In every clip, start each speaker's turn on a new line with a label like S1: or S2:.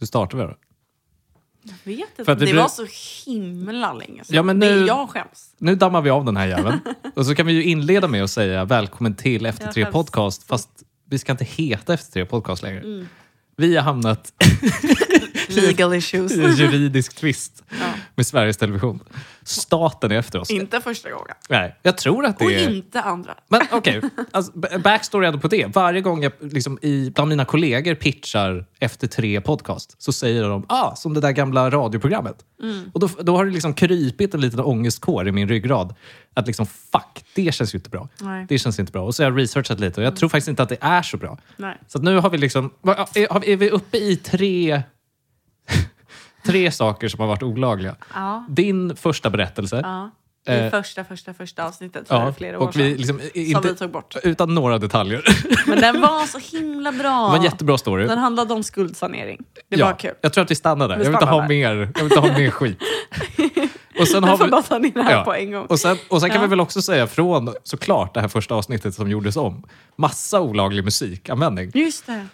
S1: Hur startar vi då?
S2: Jag vet
S1: För
S2: inte.
S1: att det
S2: Det,
S1: blir-
S2: var så himla länge sedan.
S1: Ja, men
S2: Det
S1: nu-
S2: är jag skäms.
S1: Nu dammar vi av den här jäveln. Och så kan vi ju inleda med att säga välkommen till Efter
S2: Jag
S1: tre
S2: skäms.
S1: podcast. Fast vi ska inte heta Efter tre podcast längre.
S2: Mm.
S1: Vi har hamnat
S2: Legal issues.
S1: i en juridisk tvist
S2: Ja.
S1: med Sveriges Television. Staten är efter oss.
S2: Inte första gången.
S1: Nej, jag tror att
S2: Och
S1: det är...
S2: inte andra.
S1: Men okej, alltså, b- backstory ändå på det. Varje gång jag liksom, i, bland mina kollegor pitchar efter tre podcast så säger de ah, som det där gamla radioprogrammet.
S2: Mm.
S1: Och då, då har det liksom krypit en liten ångestkår i min ryggrad. Att liksom fuck, det känns ju inte bra.
S2: Nej. Mm.
S1: Det känns inte bra. Och så har jag researchat lite och jag tror faktiskt inte att det är så bra.
S2: Nej.
S1: Så att nu har vi liksom... vad- Är, har vi- är vi uppe i tre, tre saker som har varit olagliga?
S2: Ja.
S1: Din första berättelse.
S2: ja. I
S1: Eh.
S2: första, första, första avsnittet för
S1: Ja,
S2: flera år
S1: och vi
S2: sedan.
S1: liksom, i-
S2: Som
S1: inte-
S2: vi tog bort.
S1: Utan några detaljer.
S2: Men den var så himla bra.
S1: Det var en jättebra story.
S2: Den handlade om skuldsanering. Det var kul.
S1: Jag tror att vi stannar där.
S2: Vi
S1: Jag vill inte
S2: stannar
S1: ha
S2: där.
S1: mer, jag vill inte ha mer skit. Och sen
S2: Den
S1: har
S2: får bara
S1: vi,
S2: ta ner det här
S1: Ja.
S2: på en gång.
S1: och sen, och sen kan
S2: Ja.
S1: vi väl också säga från såklart det här första avsnittet som gjordes om. Massa olaglig musikanvändning.
S2: Just det.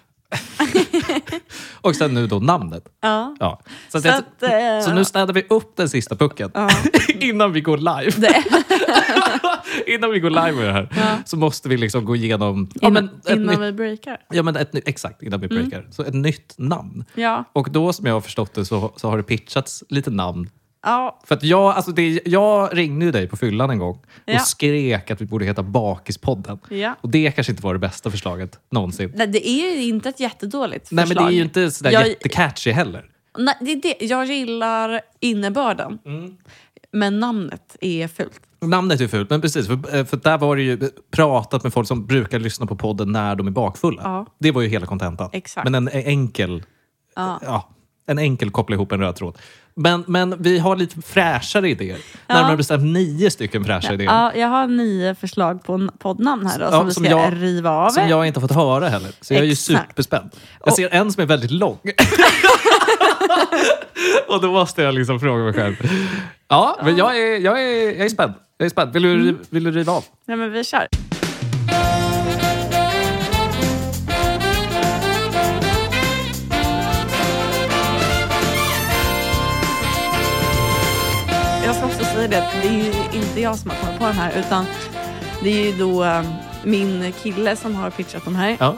S1: Och sen nu då namnet.
S2: Ja.
S1: Ja. Så, att
S2: Så
S1: jag,
S2: att, eh,
S1: så nu städar vi upp den sista pucken. Innan vi går live. Innan vi går live med det här så måste vi liksom gå igenom... Ja, men ett
S2: Innan
S1: nytt,
S2: vi Mm. breakar.
S1: ja, men ett, nytt- exakt, innan vi breakar. Så ett nytt namn.
S2: Ja.
S1: Och då, som jag har förstått det, så, så har det pitchats lite namn.
S2: ja.
S1: För att jag, alltså det, jag ringde ju dig på fyllan en gång och
S2: Ja.
S1: skrek att vi borde heta Bakispodden.
S2: Ja.
S1: Och det kanske inte var det bästa förslaget någonsin.
S2: Nej, det är ju inte ett jättedåligt
S1: Nej, men
S2: förslag.
S1: det är ju inte sådär
S2: Jag-
S1: jättecatchy heller.
S2: Nej, det är det. Jag gillar innebörden.
S1: Mm.
S2: Men namnet är fult.
S1: Namnet är fult, men precis. För, för där var det ju pratat med folk som brukar lyssna på podden när de är bakfulla.
S2: Ja.
S1: Det var ju hela kontentan.
S2: Exakt.
S1: Men en eh, enkel... eh, Ja. en enkel koppla ihop en röd tråd. Men, men vi har lite fräschare idéer. Närmare bestämt nio stycken fräscha idéer.
S2: Ja, jag har nio förslag på n- poddnamn här då, som vi
S1: som
S2: ska
S1: jag-
S2: riva av.
S1: Som jag inte har fått höra heller. Så jag är ju
S2: Exakt.
S1: superspänd. Jag
S2: Och-
S1: ser en som är väldigt lång. och då måste jag liksom fråga mig själv. Ja, men jag är, jag är, jag är spänd. Jag är spänd. Vill du,
S2: Mm.
S1: riv- vill du riva av?
S2: Nej, men vi kör. Jag ska också säga det, att det är ju inte jag som har kommit på de här utan det är ju då eh, min kille som har pitchat de här.
S1: Ja.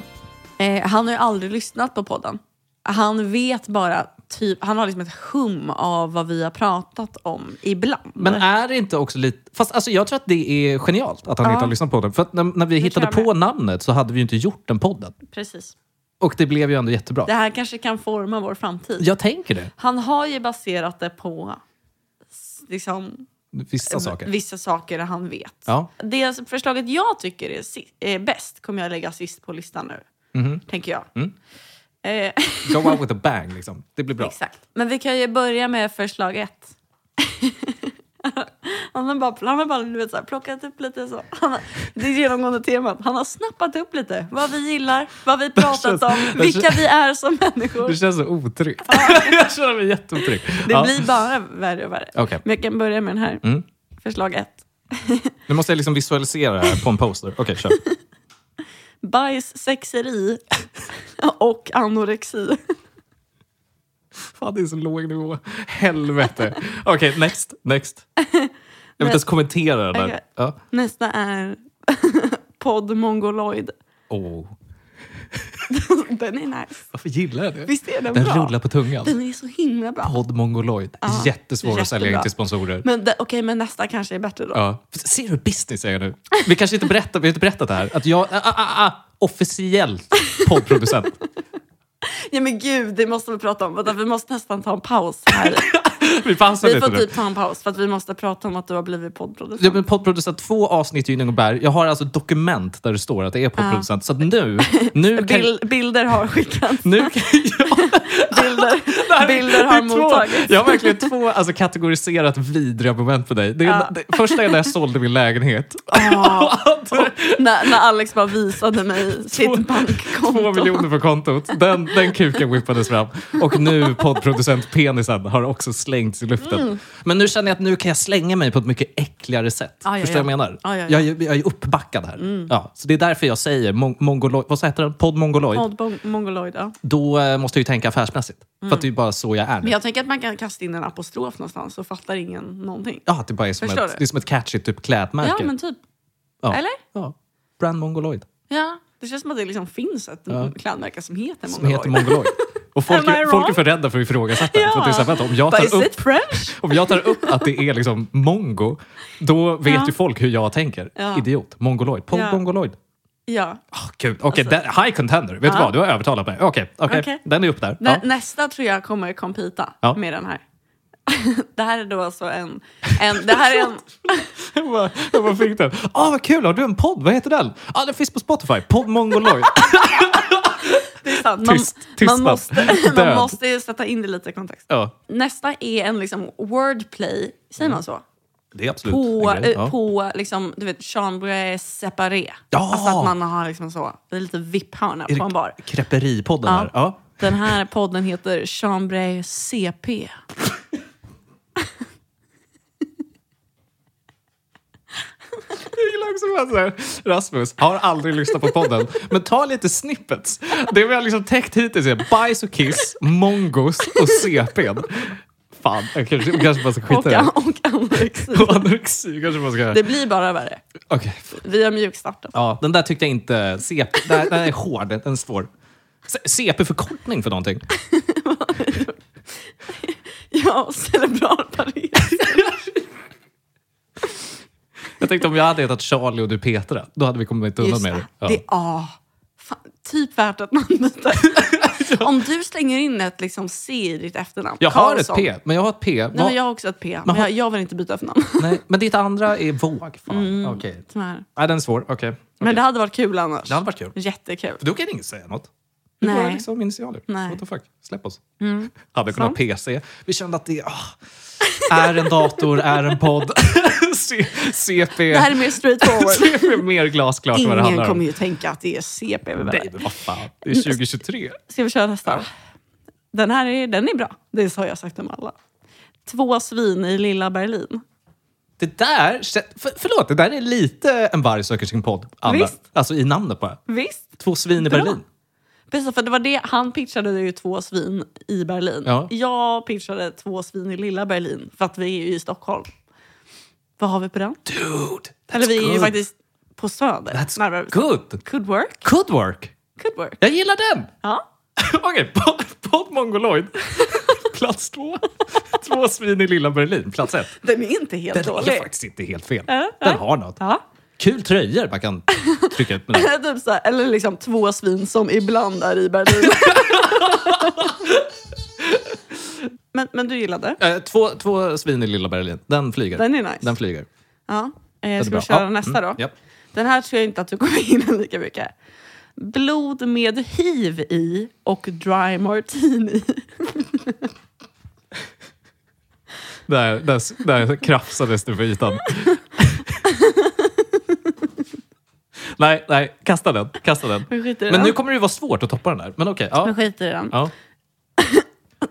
S2: Eh, han har ju aldrig lyssnat på podden. Han vet bara, typ, han har liksom ett hum av vad vi har pratat om ibland.
S1: Men är det inte också lite... Fast alltså, jag tror att det är genialt att han inte har lyssnat på den. För att när, när vi hittade
S2: tror jag
S1: på namnet så hade vi ju inte gjort den podden.
S2: Precis.
S1: Och det blev ju ändå jättebra.
S2: Det här kanske kan forma vår framtid.
S1: Jag tänker det.
S2: Han har ju baserat det på s- liksom,
S1: Vissa saker.
S2: vissa saker han vet.
S1: Ja.
S2: Det förslaget jag tycker är, si- är bäst kommer jag lägga sist på listan nu.
S1: Mhm.
S2: Tänker jag.
S1: Mm.
S2: Eh,
S1: Go out with a bang liksom. Det blir bra.
S2: exakt. Men vi kan ju börja med förslag ett. Han har bara, han har bara du vet, så här, plockat upp lite så. Han har, det är genomgående temat. Han har snappat upp lite vad vi gillar, vad vi pratat
S1: känns-
S2: om,
S1: det
S2: vilka
S1: känns-
S2: vi är som människor.
S1: Det känns så otryggt. jag känner mig jätteotrygg.
S2: Det
S1: Ja.
S2: blir bara värre och värre.
S1: Okej. Mm.
S2: Men jag kan börja med den här. Förslag ett.
S1: Nu måste jag liksom visualisera det här på en poster. Okej, kör.
S2: Bajs, sexeri och anorexi.
S1: Fan, det är så låg nivå. Helvete. Okej, next. Next. Jag vill inte ens kommentera det där.
S2: Okej.
S1: Ja.
S2: Nästa är podd mongoloid.
S1: Åh,
S2: Den är nice.
S1: Varför gillar jag det?
S2: Visst är den,
S1: Den
S2: bra?
S1: rullar på tungan.
S2: Den är så himla bra.
S1: Podd Mongoloid.
S2: Ja,
S1: Jättesvår att sälja in
S2: jättebra.
S1: till sponsorer.
S2: Men de, okej, men nästa kanske är bättre då.
S1: Ja. Ser du hur business är jag nu? Vi kanske inte berättar, vi har inte berättat det här. Att jag, ah, ah, ah, ah, officiellt poddproducent.
S2: Ja men gud, det måste vi prata om. Vänta, vi måste nästan ta en paus här.
S1: Vi pausar
S2: Vi
S1: lite
S2: får
S1: nu.
S2: typ ta en paus för att vi måste prata om att du har blivit poddproducent.
S1: Ja, men poddproducent två avsnitt i Gynningeberg. Jag har alltså ett dokument där det står att det är poddproducent. Så att nu, nu kan...
S2: Bil, bilder har skickats.
S1: Nu kan jag...
S2: Bilder.
S1: Det
S2: Motbilder har mottagits.
S1: Jag har verkligen två alltså, kategoriserat vidriga moment på dig. Det, är,
S2: Ja.
S1: det första är när jag sålde min lägenhet.
S2: Ja. Ah. när, när Alex bara visade mig sitt
S1: Två
S2: bankkonto.
S1: miljoner på kontot. Den, den kuken whippades fram. Och nu poddproducent-penisen har också slängts i luften.
S2: Mm.
S1: Men nu känner jag att nu kan jag slänga mig på ett mycket äckligare sätt.
S2: Ja, ja,
S1: Förstår du vad jag
S2: ja.
S1: menar?
S2: Ja, Mm. ja, ja.
S1: Jag, är- jag är uppbackad här. Ja, så det är därför jag säger mong- mongoloid. Vad heter den? Podd mongoloid.
S2: Odd Mongoloid, ja.
S1: Då eh, måste jag ju tänka affärsmässigt. För att det är ju bara så jag är.
S2: Mm. Men jag tänker att man kan kasta in en apostrof någonstans så fattar ingen någonting.
S1: Ja, det bara är som,
S2: Förstår
S1: ett,
S2: du?
S1: det är som ett catchigt typ klädmärke.
S2: Ja, men typ.
S1: Ja.
S2: Eller?
S1: Ja. Brand Mongoloid.
S2: Ja. Det känns som att det liksom finns ett klädmärke som heter
S1: Som
S2: Mongoloid.
S1: heter Mongoloid. Och folk,
S2: Am I
S1: är- folk är
S2: wrong?
S1: för rädda för att ifrågasätta det. För att det är så här, vänta, om, jag
S2: But is
S1: tar upp,
S2: it French?
S1: om jag tar upp att det är liksom mongo, då vet
S2: Ja.
S1: ju folk hur jag tänker.
S2: Ja.
S1: Idiot. Mongoloid. Pong
S2: Ja.
S1: Mongoloid.
S2: Ja.
S1: Ah, Kul. Okej, den- high contender. Vet du
S2: Ja.
S1: vad? Du har övertalat mig. Okej, okej.
S2: Okej.
S1: den är upp där.
S2: Nä,
S1: Ja.
S2: Nästa tror jag kommer kompita
S1: Ja.
S2: med den här. det här är då alltså en... en det här är en...
S1: Jag bara, jag bara fick den. Ah, vad kul! Har du en podd? Vad heter den? Ah, den finns på Spotify. Podd Mongoloid.
S2: Det är sant. Man,
S1: Tyst- tystnad.
S2: man, måste, man
S1: Död.
S2: måste ju sätta in det lite i kontext.
S1: ja,
S2: Nästa är en liksom wordplay, säger
S1: Mm.
S2: man så?
S1: det är absolut
S2: På,
S1: en grej.
S2: eh, på liksom, du vet, chambre séparé.
S1: Ja!
S2: Alltså att man har liksom så, det är lite VIP-hörna
S1: Är det
S2: på en bar.
S1: Kreperipodden här. Ja.
S2: Den här podden heter Chambre CP.
S1: Jag gillar också att man säger, Rasmus har aldrig lyssnat på podden, men ta lite snippets. Det vi har liksom täckt hittills är bajs och kiss, mongos och CP'n. Fan, jag kanske, jag kanske bara ska skita
S2: Och,
S1: i det.
S2: och anorexi.
S1: Och anorexi kanske man ska göra.
S2: Det blir bara värre.
S1: Okej.
S2: Vi har mjukstartat.
S1: Ja, den där tyckte jag inte... CP, den, den är hård, den är svår. C- CP-förkortning för någonting.
S2: Ja, cerebral pares.
S1: Jag tänkte om jag hade hetat Charlie och du Petra, då hade vi kommit undan
S2: Just
S1: med det.
S2: det.
S1: Ja.
S2: det ah, fan, typ värt att man byter. Om du slänger in ett liksom, C i ditt efternamn.
S1: Jag har ett
S2: Karlsson.
S1: P, men jag har ett P.
S2: Nej,
S1: Va-
S2: men jag har också ett P, men jag, jag vill inte byta efternamn.
S1: Nej, men ditt andra är våg. Fan.
S2: Mm.
S1: Okej.
S2: Tyvärr.
S1: Nej, den är svår. Okej.
S2: Men det hade varit kul annars.
S1: Det hade varit kul.
S2: Jättekul.
S1: För då kan ingen säga något. Det är
S2: Nej.
S1: bara liksom initialer.
S2: Nej. Mm.
S1: What the fuck? Släpp oss. Hade kunnat
S2: Sant.
S1: PC. Vi kände att det ah, är en dator, är en podd. C- CP.
S2: Det här är mer straightforward.
S1: CP är mer glasklart vad det
S2: Ingen
S1: handlar
S2: kommer
S1: om.
S2: ju tänka att det är CP. vi
S1: Nej,
S2: behöver.
S1: men vad fan. Det är 2023.
S2: Ska vi köra nästa? Den här är, den är bra. Det har jag sagt om alla. Två svin i lilla Berlin.
S1: Det där, kä- för, förlåt, det där är lite en varg söker sin podd. Anna.
S2: Visst.
S1: Alltså i namnet bara.
S2: Visst?
S1: Två svin i
S2: Bra.
S1: Berlin.
S2: Precis, för det var det, han pitchade ju två svin i Berlin.
S1: Ja.
S2: Jag pitchade två svin i lilla Berlin för att vi är ju i Stockholm. Vad har vi på den?
S1: Dude, that's
S2: Eller vi är ju
S1: good.
S2: faktiskt på Söder. närmare
S1: That's
S2: bestämt.
S1: good.
S2: Could work.
S1: Could work.
S2: Could work.
S1: Jag gillar den.
S2: Ja.
S1: Okej, podd pod Mongoloid. Plats två. Två svin i lilla Berlin. Plats ett.
S2: Den är inte helt
S1: Den
S2: dålig.
S1: är faktiskt inte helt fel. Den har något.
S2: Ja.
S1: Kul tröjor man kan trycka ut med den.
S2: typ så här, eller liksom två svin som ibland är i Berlin. men, men du gillade?
S1: Eh, två, två svin i lilla Berlin. Den flyger.
S2: Den är nice.
S1: Den flyger.
S2: Ja. Eh, ska
S1: bra.
S2: vi köra
S1: Ja,
S2: nästa då?
S1: mm, japp.
S2: Den här tror jag inte att du kommer hinna lika mycket. Blod med hiv i och dry martini.
S1: Där, där, där krafsades det på ytan. nej, nej. Kasta den. Kasta den.
S2: Vi skiter i
S1: Men
S2: den.
S1: nu kommer det ju vara svårt att toppa den där. Men okej.
S2: Jag
S1: ja.
S2: skiter i den.
S1: ja.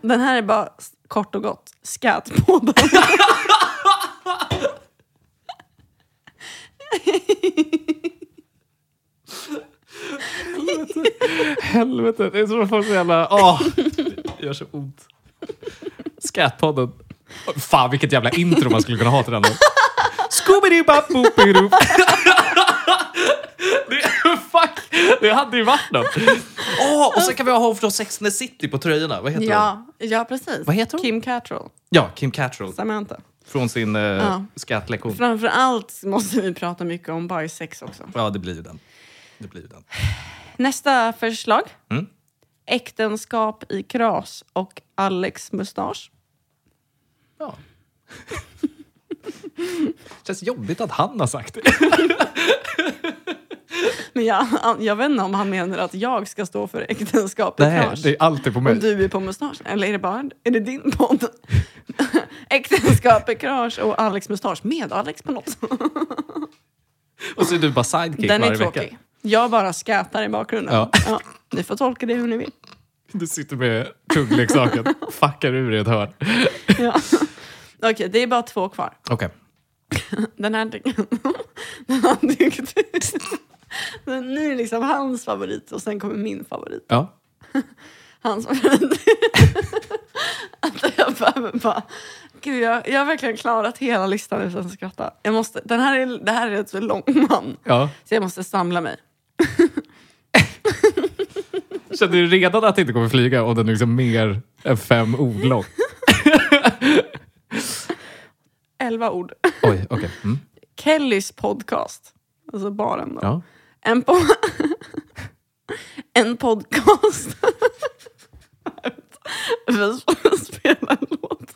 S2: Den här är bara s- kort och gott skatt på den.
S1: Helvete, det är som att få så jävla... Åh, det gör så ont. Skatpodden. Fan, vilket jävla intro man skulle kunna ha till den. Scooby-doo-bop-boop-bidoo. Det- Fuck, det hade ju varit något. Åh, och sen kan vi ha från Sex and the City på tröjorna. Vad heter hon?
S2: ja, ja, precis.
S1: Vad heter hon?
S2: Kim Cattrall.
S1: Ja, Kim Cattrall.
S2: Samantha.
S1: Från sin eh,
S2: Ja.
S1: skattlektion.
S2: Framförallt måste vi prata mycket om bajsex också.
S1: Ja, det blir ju den. Det blir ju den.
S2: Nästa förslag.
S1: Mm.
S2: Äktenskap i kras och Alex mustasch.
S1: Ja. Känns jobbigt att han har sagt det.
S2: Men jag, jag vet inte om han menar att jag ska stå för äktenskap i
S1: Nej,
S2: klars.
S1: det är alltid på
S2: Om
S1: mig.
S2: du är på mustasch. Eller är det bara är det din podd? Äktenskap, ekage och Alex mustasch med Alex på något.
S1: Och så är du bara sidekick
S2: Den är
S1: varje
S2: tråkig.
S1: vecka.
S2: Jag bara skätar i bakgrunden.
S1: Ja.
S2: Ja, ni får tolka det hur ni vill.
S1: Du sitter med kuggleksaken, fuckar ur i ett hörn.
S2: Ja. Okej, det är bara två kvar.
S1: Okej.
S2: Den här tycker den här tyckte Den är liksom hans favorit och sen kommer min favorit.
S1: Ja.
S2: Hans favorit. att jag behöver bara... Gud, jag, jag har verkligen klarat hela listan utan att skratta. Jag måste, den här är, det här är ett så lång man.
S1: ja.
S2: Så jag måste samla mig.
S1: Känner du redan att det inte kommer flyga om den är liksom mer än fem ord lång?
S2: Elva ord.
S1: Oj, okej. Mm.
S2: Kellys podcast. Alltså baren då.
S1: Ja.
S2: En, po- en podcast. Vi spelar en låt.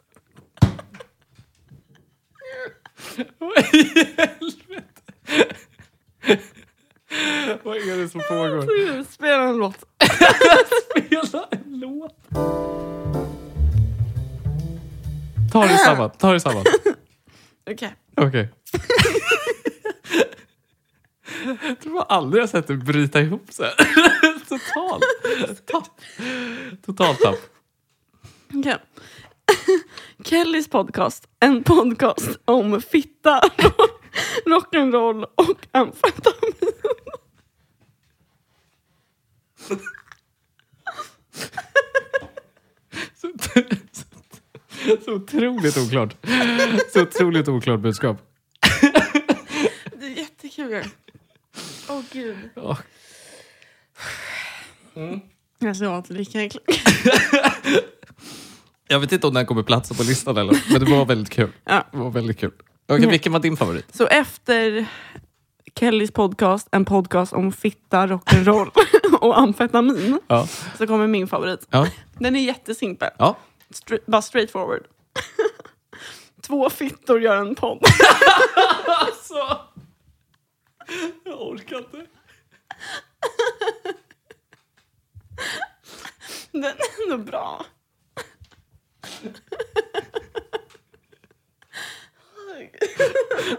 S1: Vad är det som pågår?
S2: Vi spelar en låt.
S1: Spela en låt. Ta det samman. Ta det samman.
S2: Okej.
S1: Okej. Jag tror jag aldrig jag sett dig bryta ihop så här. Totalt. Tapp. Totalt tapp.
S2: Okej. Kellys podcast. En podcast om fitta, rock'n'roll och amfetamin.
S1: Så, så, så otroligt oklart. Så otroligt oklart budskap.
S2: Det är jättekul. Åh gud.
S1: Åh,
S2: Jag ska inte dricka en klunk.
S1: Jag vet inte om den kommer platsa på listan eller, men det var väldigt kul.
S2: Ja.
S1: Det var väldigt kul. Okej, vilken var din favorit?
S2: Så efter Kellys podcast, en podcast om fitta, rock'n'roll och amfetamin,
S1: Ja.
S2: så kommer min favorit.
S1: Ja.
S2: Den är jättesimpel.
S1: ja.
S2: Stra- bara straight forward. Två fittor gör en podd.
S1: Alltså! Jag orkar inte.
S2: Den är ändå bra.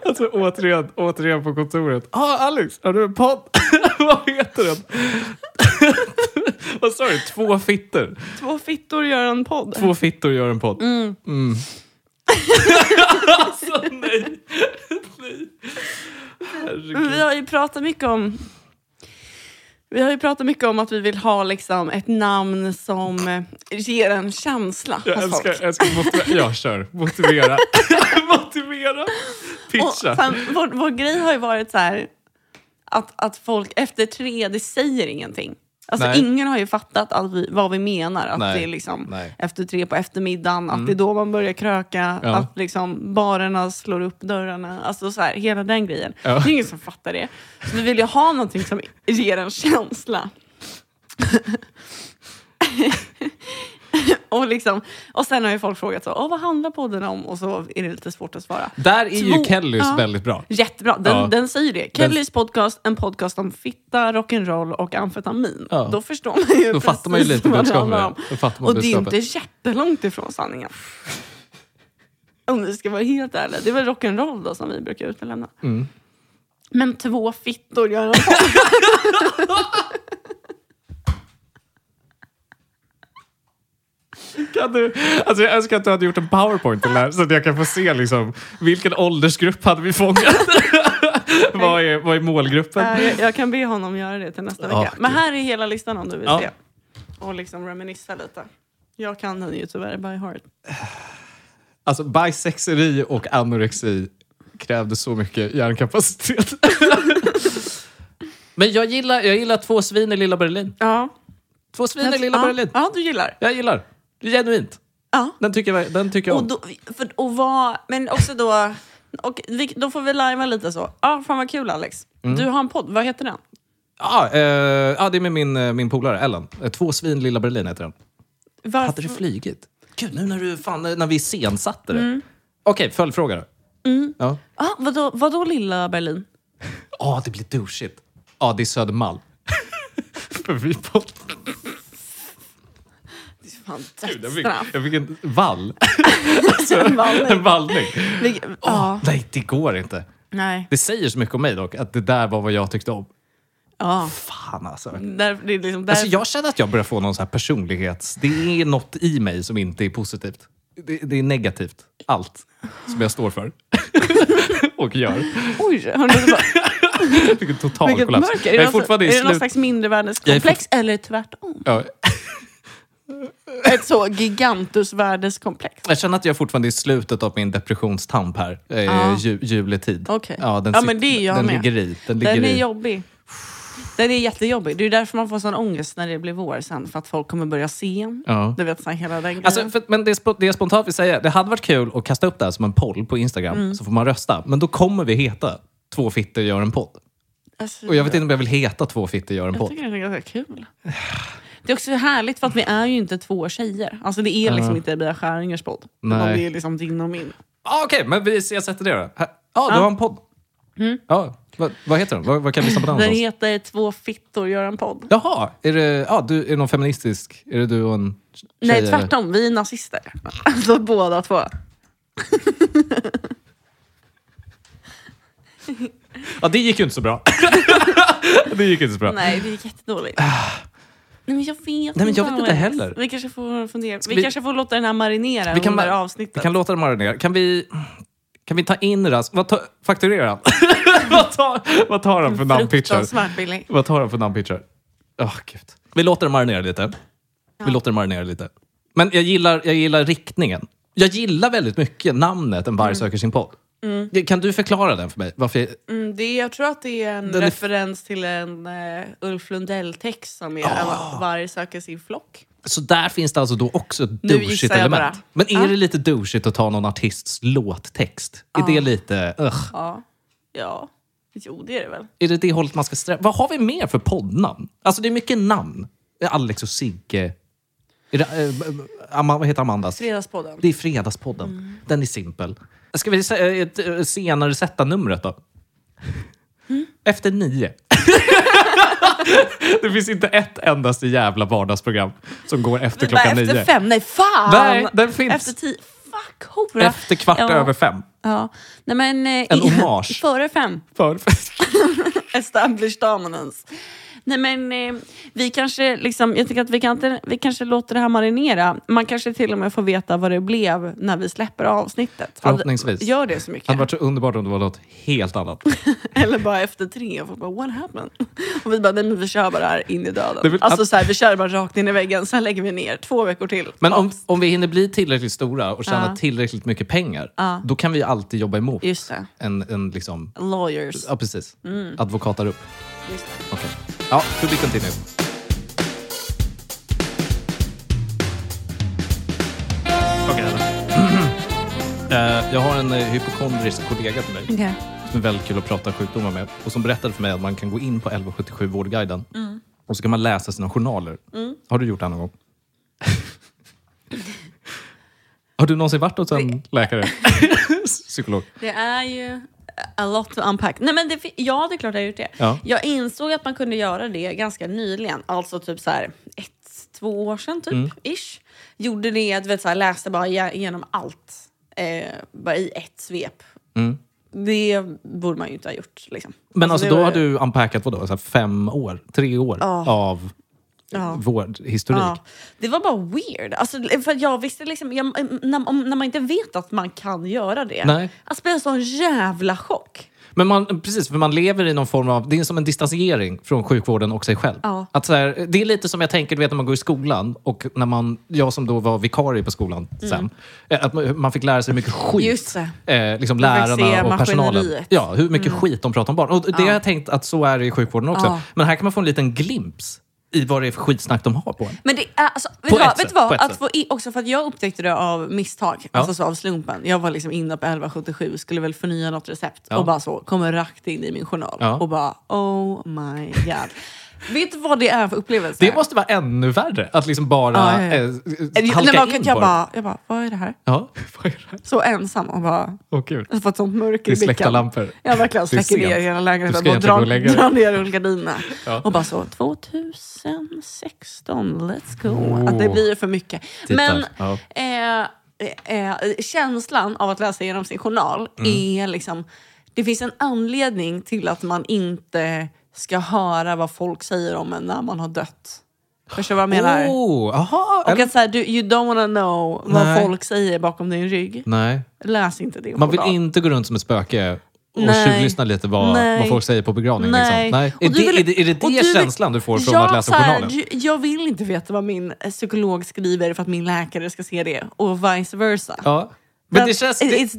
S1: Alltså återigen, återigen på kontoret. Ah, Alex, har du en podd? Vad heter den? Vad sa du? Två fittor?
S2: Två fittor gör en podd.
S1: Två fittor gör en podd. Mm. alltså nej! nej.
S2: Men
S1: Herregud.
S2: vi har ju pratat mycket om... Vi har ju pratat mycket om att vi vill ha liksom ett namn som eh, ger en känsla
S1: Jag
S2: hos
S1: älskar,
S2: folk.
S1: jag älskar motivera. Jag kör. Motivera. motivera.
S2: Och
S1: Pitcha.
S2: sen, vår, vår grej har ju varit så här att, att folk efter tre, det säger ingenting. Alltså
S1: Nej.
S2: ingen har ju fattat att vi, vad vi menar. Att
S1: Nej.
S2: det är liksom
S1: Nej. Mm.
S2: efter tre på eftermiddagen, att det är då man börjar kröka,
S1: Ja.
S2: att liksom barerna slår upp dörrarna. Alltså så här, hela den grejen.
S1: Ja.
S2: Det är ingen som fattar det. Så vi vill ju ha någonting som ger en känsla. och, liksom, och sen har ju folk frågat så, Åh, vad handlar podden om? Och så är det lite svårt att svara.
S1: Där är ju
S2: Två-
S1: Kellys
S2: Ja.
S1: väldigt bra.
S2: Jättebra, den,
S1: Ja.
S2: den säger det. Kellys podcast, en podcast om fitta, rock'n'roll och amfetamin.
S1: Ja.
S2: Då förstår man ju
S1: Då fattar man ju
S2: precis
S1: lite
S2: vad det
S1: budskapet.
S2: handlar om.
S1: Då fattar man
S2: Och det är ju inte
S1: budskapet.
S2: jättelångt ifrån sanningen. Om vi ska vara helt ärliga. Det är väl rock'n'roll då som vi brukar utelämna.
S1: Mm.
S2: Men två fittor gör en podd.
S1: Kan du, alltså jag önskar att du hade gjort en powerpoint till det här så att jag kan få se liksom, vilken åldersgrupp hade vi fångat? vad, är, vad är målgruppen?
S2: Äh, jag, jag kan be honom göra det till nästa
S1: Ja,
S2: vecka. Men här är hela listan om du vill
S1: Ja.
S2: se. Och liksom reminissa lite. Jag kan den ju tyvärr by heart.
S1: Alltså bisexeri och anorexi krävde så mycket hjärnkapacitet. Men jag gillar, jag gillar två svin i Lilla Berlin.
S2: Ja.
S1: Två svin i Lilla
S2: ja.
S1: Berlin.
S2: ja, du gillar.
S1: Jag gillar. Det är genuint.
S2: Ja.
S1: Den tycker jag, den tycker jag
S2: Och
S1: om.
S2: då, för, och vad, men också då, och vi, då får vi lajva lite så. ah, fan vad kul Alex.
S1: Mm.
S2: Du har en podd, vad heter den?
S1: Ja, eh, ja, det är med min, eh, min polare Ellen. Eh, Två svin i Lilla Berlin heter den.
S2: Varför?
S1: Hade
S2: Alltså-
S1: det flygit? Gud, nu när, du, fan, när vi iscensatte det.
S2: Mm.
S1: Okej, följdfråga då. Ja.
S2: Ah, vadå, vadå lilla Berlin?
S1: Ah, det blir douchigt. Ja, det är Södermalm. För vi podd-
S2: Det är fan
S1: Gud, jag fick,
S2: dödsstraff.
S1: jag fick en vall.
S2: En vallning.
S1: en vallning.
S2: Vilket-
S1: Åh,
S2: Ja,
S1: Nej, det går inte.
S2: nej.
S1: Det säger så mycket om mig dock, att det där var vad jag tyckte om.
S2: Ja.
S1: Fan alltså.
S2: Ah. Där, det är liksom där,
S1: alltså jag känner att jag börjar få någon så här personlighets... Det är något i mig som inte är positivt. Det, det är negativt. Allt som jag står för. och gör.
S2: Oj, hörni, det var-
S1: Vilken total
S2: vilket
S1: kollaps.
S2: mörker.
S1: jag är
S2: någon-
S1: fortfarande i
S2: är det någon
S1: slut...
S2: slags mindervärdeskomplex eller tvärtom?
S1: Ja,
S2: Ett så gigantusvärdeskomplex.
S1: jag känner att jag fortfarande är i slutet av min depressionstamp här. Eh,
S2: Ja.
S1: ju, juletid.
S2: Okej.
S1: Ja, den,
S2: Ja,
S1: sit-
S2: men det är jag
S1: den
S2: med.
S1: ligger i. Den ligger
S2: Den är
S1: i.
S2: jobbig. Den är jättejobbig. Det är ju därför man får sån ångest när det blir vår sen. För att folk kommer börja se en.
S1: Ja.
S2: Du vet, så här, hela den grejen.
S1: Alltså, för, men det, är spo- det jag spontant vill säga, det hade varit kul att kasta upp det här som en poll på Instagram,
S2: Mm.
S1: så får man rösta. Men då kommer vi heta Två fitter gör en podd.
S2: Alltså,
S1: Och jag vet inte om jag vill heta Två fitter gör en
S2: jag
S1: podd.
S2: tycker den är ganska kul. Det är också härligt för att vi är ju inte två tjejer. Alltså det är liksom inte Bea Skäringers podd. Utan
S1: Nej.
S2: Det är liksom din och min.
S1: Ah, Okej, men vi ses efter det då. Här- Ja, du har en podd. Ja, vad, vad heter den? Vad, vad kan vi lyssna på den
S2: Mm. Den
S1: någonstans?
S2: heter Två fittor gör en podd.
S1: Jaha, är det, ja, du, är det någon feministisk? Är det du och en tjej?
S2: Nej,
S1: eller?
S2: tvärtom. Vi är nazister. Alltså båda två.
S1: Ja, det gick ju inte så bra. det gick inte så bra.
S2: Nej, det gick jättedåligt. Nej, men jag vet
S1: Ah. men jag vet inte
S2: Alex.
S1: heller.
S2: Vi kanske får fundera. Vi,
S1: vi-
S2: kanske får låta den här marinera
S1: Vi kan
S2: under
S1: ma-
S2: avsnittet.
S1: Vi kan låta det marinera. Kan vi, kan vi ta in Ras... Vad ta, fakturerar han? vad, tar, vad tar han för namnpitchar?
S2: Fruktansvärt billig.
S1: Vad tar han för namnpitchar? Åh, Gud. Vi låter det marinera lite. Vi låter det marinera lite. Men jag gillar, jag gillar riktningen. Jag gillar väldigt mycket namnet En varg söker sin podd. Kan du förklara den för mig? Varför jag,
S2: Mm, det, jag tror att det är en
S1: Den är-
S2: referens till en eh, Ulf Lundell-text som är
S1: Ah.
S2: oh. Varg söker sin flock.
S1: så där finns det alltså då också ett
S2: Nu gissar
S1: douchigt
S2: jag
S1: element.
S2: bara.
S1: Men är
S2: Ja.
S1: det lite douchigt att ta någon artists låttext? Är det lite... Ugh.
S2: Ja. ja. Jo, det är det väl.
S1: Är det det hållet man ska sträva? Vad har vi mer för poddnamn? Alltså det är mycket namn. Alex och Sigge. Är det, eh, Ama- vad heter Amandas?
S2: Fredagspodden.
S1: Det är Fredagspodden.
S2: Mm.
S1: Den är simpel. Ska vi sä- eh, t- eh, senare sätta numret då?
S2: Mm.
S1: Efter nio. det finns inte ett endaste jävla vardagsprogram som går efter
S2: Nej,
S1: klockan
S2: efter
S1: nio.
S2: fem? Nej, fan!
S1: Nej, den finns.
S2: Efter tio? Fuck, hora!
S1: Efter kvart
S2: Ja.
S1: över fem.
S2: Ja. Nej, men, eh,
S1: En
S2: i-
S1: hommage.
S2: Före fem.
S1: För,
S2: Established dominance. Nej men eh, vi kanske liksom, jag tycker att vi, kan inte, vi kanske låter det här marinera. Man kanske till och med får veta vad det blev när vi släpper avsnittet.
S1: Förhoppningsvis.
S2: Alltså, Gör det så
S1: det hade
S2: mycket.
S1: varit så underbart om det var något helt annat.
S2: Eller bara efter tre och folk bara what happened? Och vi bara nej men vi kör bara det här in i
S1: Det är
S2: döden.
S1: väl
S2: alltså
S1: att-
S2: så här, vi kör bara rakt in i väggen, sen lägger vi ner två veckor till.
S1: Men om, om vi hinner bli tillräckligt stora och tjäna
S2: Ja.
S1: tillräckligt mycket pengar,
S2: Ja.
S1: då kan vi alltid jobba emot
S2: Just det.
S1: en, en liksom...
S2: Lawyers.
S1: Ja, precis.
S2: Mm.
S1: Advokatar upp.
S2: Just det.
S1: Okej. Ja, to be continued. Okej, okay, Jag har en eh, hypokondrisk kollega till mig
S2: Okej.
S1: som är väldigt kul att prata sjukdomar med och som berättade för mig att man kan gå in på 1177 Vårdguiden
S2: Mm.
S1: och så kan man läsa sina journaler. Har du gjort det någon gång? Har du någonsin varit hos en läkare? Psykolog?
S2: Det är ju a lot to unpack. Nej, men det, fi- ja, det är klart jag har gjort det.
S1: Ja.
S2: Jag insåg att man kunde göra det ganska nyligen, alltså typ så här ett, två år sedan typ,
S1: Mm.
S2: ish. Gjorde det, du vet, så här, läste bara ge- igenom allt eh, bara i ett svep. Det borde man ju inte ha gjort. Liksom.
S1: Mm. Men alltså,
S2: det
S1: då
S2: var-
S1: har du unpackat vadå? Så här fem år? Tre år av
S2: Ja.
S1: vårdhistorik?
S2: Ja. Det var bara weird. Alltså, för att jag visste liksom, jag, när, om, när man inte vet att man kan göra det.
S1: Nej.
S2: Alltså, det blir en sån jävla chock.
S1: Men man, precis, för man lever i någon form av... Det är som en distansering från sjukvården och sig själv.
S2: Ja.
S1: Att så här, det är lite som jag tänker, du vet när man går i skolan och när man, jag som då var vikarie på skolan sen, eh, att man man fick lära sig mycket skit.
S2: Mm. Just det.
S1: Eh, liksom
S2: Man fick se
S1: lärarna och personalen.
S2: maskineriet. Mm.
S1: Ja, hur mycket skit de pratar om barn. Och det har jag tänkt att så är det i sjukvården också.
S2: Ja.
S1: Men här kan man få en liten glimt i vad det är för skitsnack de har på en.
S2: Men det är, alltså, vet du
S1: ett
S2: vad?
S1: sätt,
S2: Vet du vad?
S1: på ett
S2: Att
S1: sätt.
S2: få i, också för att jag upptäckte det av misstag, alltså så av slumpen. Jag var liksom inne på 1177 skulle väl förnya något recept och bara så kommer rakt in i min journal
S1: Ja.
S2: och bara oh my god. Vet du vad det är för upplevelse?
S1: Det måste vara ännu värre. Att liksom bara
S2: Ja, ja, ja.
S1: eh,
S2: Nej,
S1: halka
S2: men,
S1: in
S2: jag, jag,
S1: på det.
S2: bara, jag bara, vad är det här?
S1: Ja, vad är det här?
S2: Så ensam och bara
S1: Åh gud.
S2: jag har fått sånt mörker
S1: Det
S2: i
S1: är
S2: blickan.
S1: släckta lampor.
S2: Jag verkligen
S1: Det är
S2: släcker ner
S1: sent.
S2: hela
S1: Du
S2: lägenheten
S1: ska
S2: och
S1: egentligen gå
S2: drar,
S1: och lägga dig.
S2: drar ner rullgardinerna.
S1: Ja.
S2: Och bara så, 2016, let's go.
S1: Oh.
S2: Att det blir för mycket.
S1: Tittar.
S2: Men
S1: Ja.
S2: eh, eh, känslan av att läsa igenom sin journal
S1: Mm.
S2: är liksom... Det finns en anledning till att man inte ska höra vad folk säger om en när man har dött. Förstår du vad jag menar?
S1: Oh, aha,
S2: Och att så här, du, you don't wanna know vad
S1: Nej.
S2: folk säger bakom din rygg.
S1: Nej.
S2: Läs inte din
S1: Man vill
S2: journal.
S1: inte gå runt som ett spöke och
S2: Nej.
S1: tjuvlyssna lite vad,
S2: Nej.
S1: vad folk säger på begravning.
S2: Nej.
S1: Liksom. Nej.
S2: Och
S1: Är,
S2: du
S1: det,
S2: vill-
S1: är det, är det,
S2: och
S1: det
S2: du vill-
S1: känslan du får från
S2: Ja,
S1: att läsa
S2: så här,
S1: journalen?
S2: ju- Jag vill inte veta vad min eh, psykolog skriver för att min läkare ska se det och vice versa.
S1: Ja. Men
S2: That-
S1: det känns,
S2: it-
S1: det,
S2: It's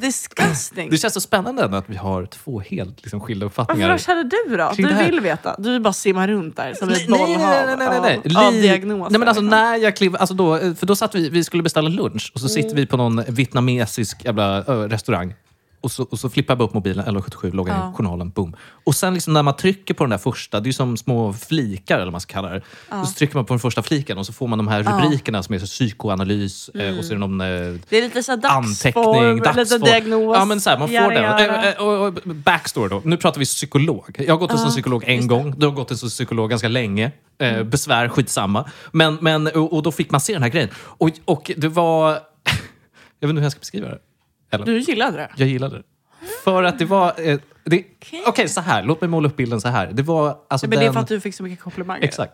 S2: disgusting.
S1: det känns så spännande ändå att vi har två helt liksom, skilda
S2: Varför
S1: uppfattningar.
S2: då känner du då?
S1: Kring det
S2: Du
S1: här-
S2: vill veta. Du bara simmar runt där som
S1: Nej,
S2: ett
S1: nej,
S2: bollhav
S1: nej, nej, nej, nej.
S2: av, av
S1: Li-
S2: diagnoser.
S1: Nej, men alltså,
S2: liksom.
S1: när jag klev, alltså då, eh, för då satt vi, vi skulle beställa lunch och så sitter vi på någon vietnamesisk jävla ö, restaurang. Och så, och så flippar jag bara upp mobilen, eller 77 loggar in
S2: Ja.
S1: journalen, boom. Och sen liksom när man trycker på den där första, det är ju som små flikar eller vad man ska kalla det. Och så trycker man på den första fliken och så får man de här rubrikerna som är så psykoanalys eh, och så är det någon eh,
S2: Det är lite så här dagsform,
S1: anteckning,
S2: lite
S1: dagsform.
S2: diagnos.
S1: Ja, men så här, man får
S2: jada,
S1: den.
S2: jada.
S1: Eh, eh, Och, och, backstory då. Nu pratar vi psykolog. Jag har gått hos en psykolog en gång. Du har gått hos en psykolog ganska länge. Eh,
S2: Mm.
S1: Besvär, skitsamma. Men, men, och, och då fick man se den här grejen. Och, och det var... Jag vet inte hur jag ska beskriva det. Eller,
S2: Du gillade det?
S1: jag gillade det. För att det var... Eh, det,
S2: Okej.
S1: Okej, så här. Låt mig måla upp bilden så här. Det var... Alltså
S2: Men det är
S1: den,
S2: för att du fick så mycket komplimanger.
S1: Exakt.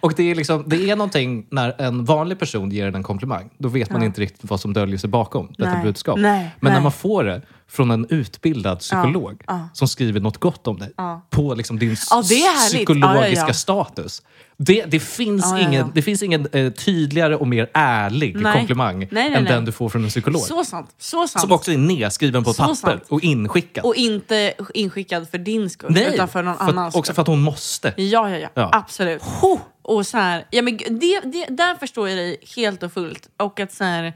S1: Och det är, liksom, det är någonting när en vanlig person ger en en komplimang. Då vet man inte riktigt vad som döljer sig bakom detta
S2: Nej.
S1: budskap.
S2: Nej.
S1: Men
S2: Nej.
S1: när man får det från en utbildad psykolog
S2: Ja.
S1: som skriver något gott om dig på liksom din
S2: Ja, det är härligt.
S1: psykologiska
S2: Ja, ja, ja.
S1: status. Det, det, finns
S2: Ja, ja, ja.
S1: ingen, det finns ingen eh, tydligare och mer ärlig
S2: Nej.
S1: komplimang
S2: Nej, nej,
S1: än
S2: nej.
S1: den du får från en psykolog.
S2: Så sant. Så sant.
S1: som också är nedskriven på ett
S2: Så
S1: papper
S2: sant.
S1: och inskickad.
S2: Och inte inskickad för din skull, utan för någon
S1: att-
S2: annans skull.
S1: Också för att hon måste.
S2: Ja, ja, ja.
S1: Ja.
S2: Absolut. Och så här, ja, men g- det, det, där förstår jag dig helt och fullt. Och att så här,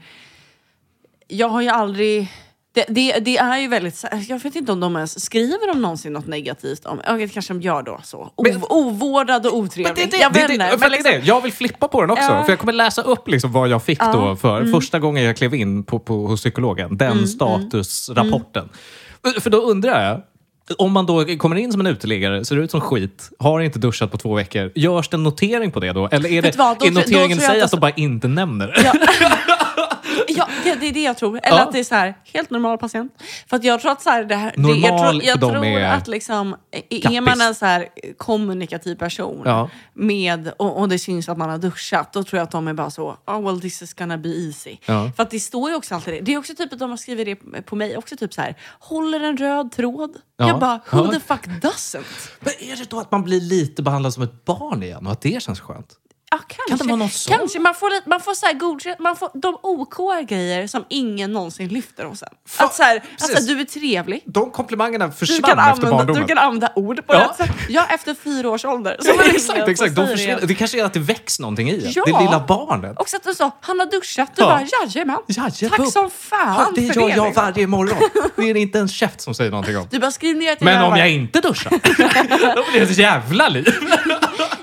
S2: jag har ju aldrig... Det, det, det är ju väldigt... så här- Jag vet inte om de ens skriver de någonsin något negativt om... Ja, det kanske de gör då. så. O,
S1: Men-
S2: ovårdad och
S1: Men
S2: otrevlig.
S1: det, är det,
S2: jag
S1: det,
S2: vet
S1: är
S2: inte.
S1: det, för
S2: men
S1: det, är
S2: liksom-
S1: det. Jag vill flippa på den också.
S2: Ja.
S1: För Jag kommer läsa upp liksom vad jag fick
S2: Ja. Mm.
S1: då för första gången jag klev in på, på, hos psykologen. Den statusrapporten.
S2: Mm.
S1: För då undrar jag, om man då kommer in som en uteliggare, ser ut som skit, har inte duschat på två veckor. Görs det en notering på det då? Eller är,
S2: Vet
S1: det,
S2: du vad? Då
S1: är
S2: tror- då tror jag
S1: noteringen
S2: att
S1: säger
S2: jag-
S1: att de bara inte nämner det?
S2: Ja, det, det är det jag tror. Eller
S1: Ja.
S2: att det är så här, helt normal patient. För att jag tror att så här, det här... det, jag
S1: Normal
S2: tror, jag
S1: för dem
S2: tror
S1: är
S2: att liksom, är är
S1: kappis.
S2: man en så här kommunikativ person
S1: Ja.
S2: med, och, och det syns att man har duschat, då tror jag att de är bara så, oh well this is gonna be easy.
S1: Ja.
S2: För att det står ju också alltid det. Det är också typ att de har skrivit det på mig, också typ så här, håller en röd tråd.
S1: Ja.
S2: Jag bara, who
S1: Ja.
S2: the fuck doesn't?
S1: Men är det då att man blir lite behandlad som ett barn igen och att det känns skönt?
S2: Ja, kanske.
S1: det vara någon sån?
S2: kanske. Man får, lite- man får, så här godkänt, man får de OK grejer som ingen någonsin lyfter om sen.
S1: Fa-
S2: att så här, att så här,
S1: precis.
S2: du är trevlig.
S1: De komplimangerna
S2: Du
S1: försvann
S2: kan,
S1: efter
S2: använda,
S1: barndomen.
S2: du kan använda ord på
S1: Ja.
S2: rätt sätt. Ja, efter fyra års ålder. Så
S1: Ja,
S2: ringde jag
S1: exakt,
S2: på
S1: exakt. De
S2: Siri.
S1: försvinner. Det kanske är att det väcks någonting i en.
S2: Ja.
S1: Det lilla barnet.
S2: Och så att du sa, han har duschat. Du
S1: Ja.
S2: bara, jajamän.
S1: Jajamän.
S2: Tack som
S1: Ja,
S2: fan
S1: det
S2: för
S1: gör jag
S2: liksom.
S1: varje morgon. Det är inte en käft som säger någonting om.
S2: Du bara, skriv ner till
S1: Men
S2: det här
S1: om
S2: varje-
S1: jag inte duschar, då blir det ett jävla liv.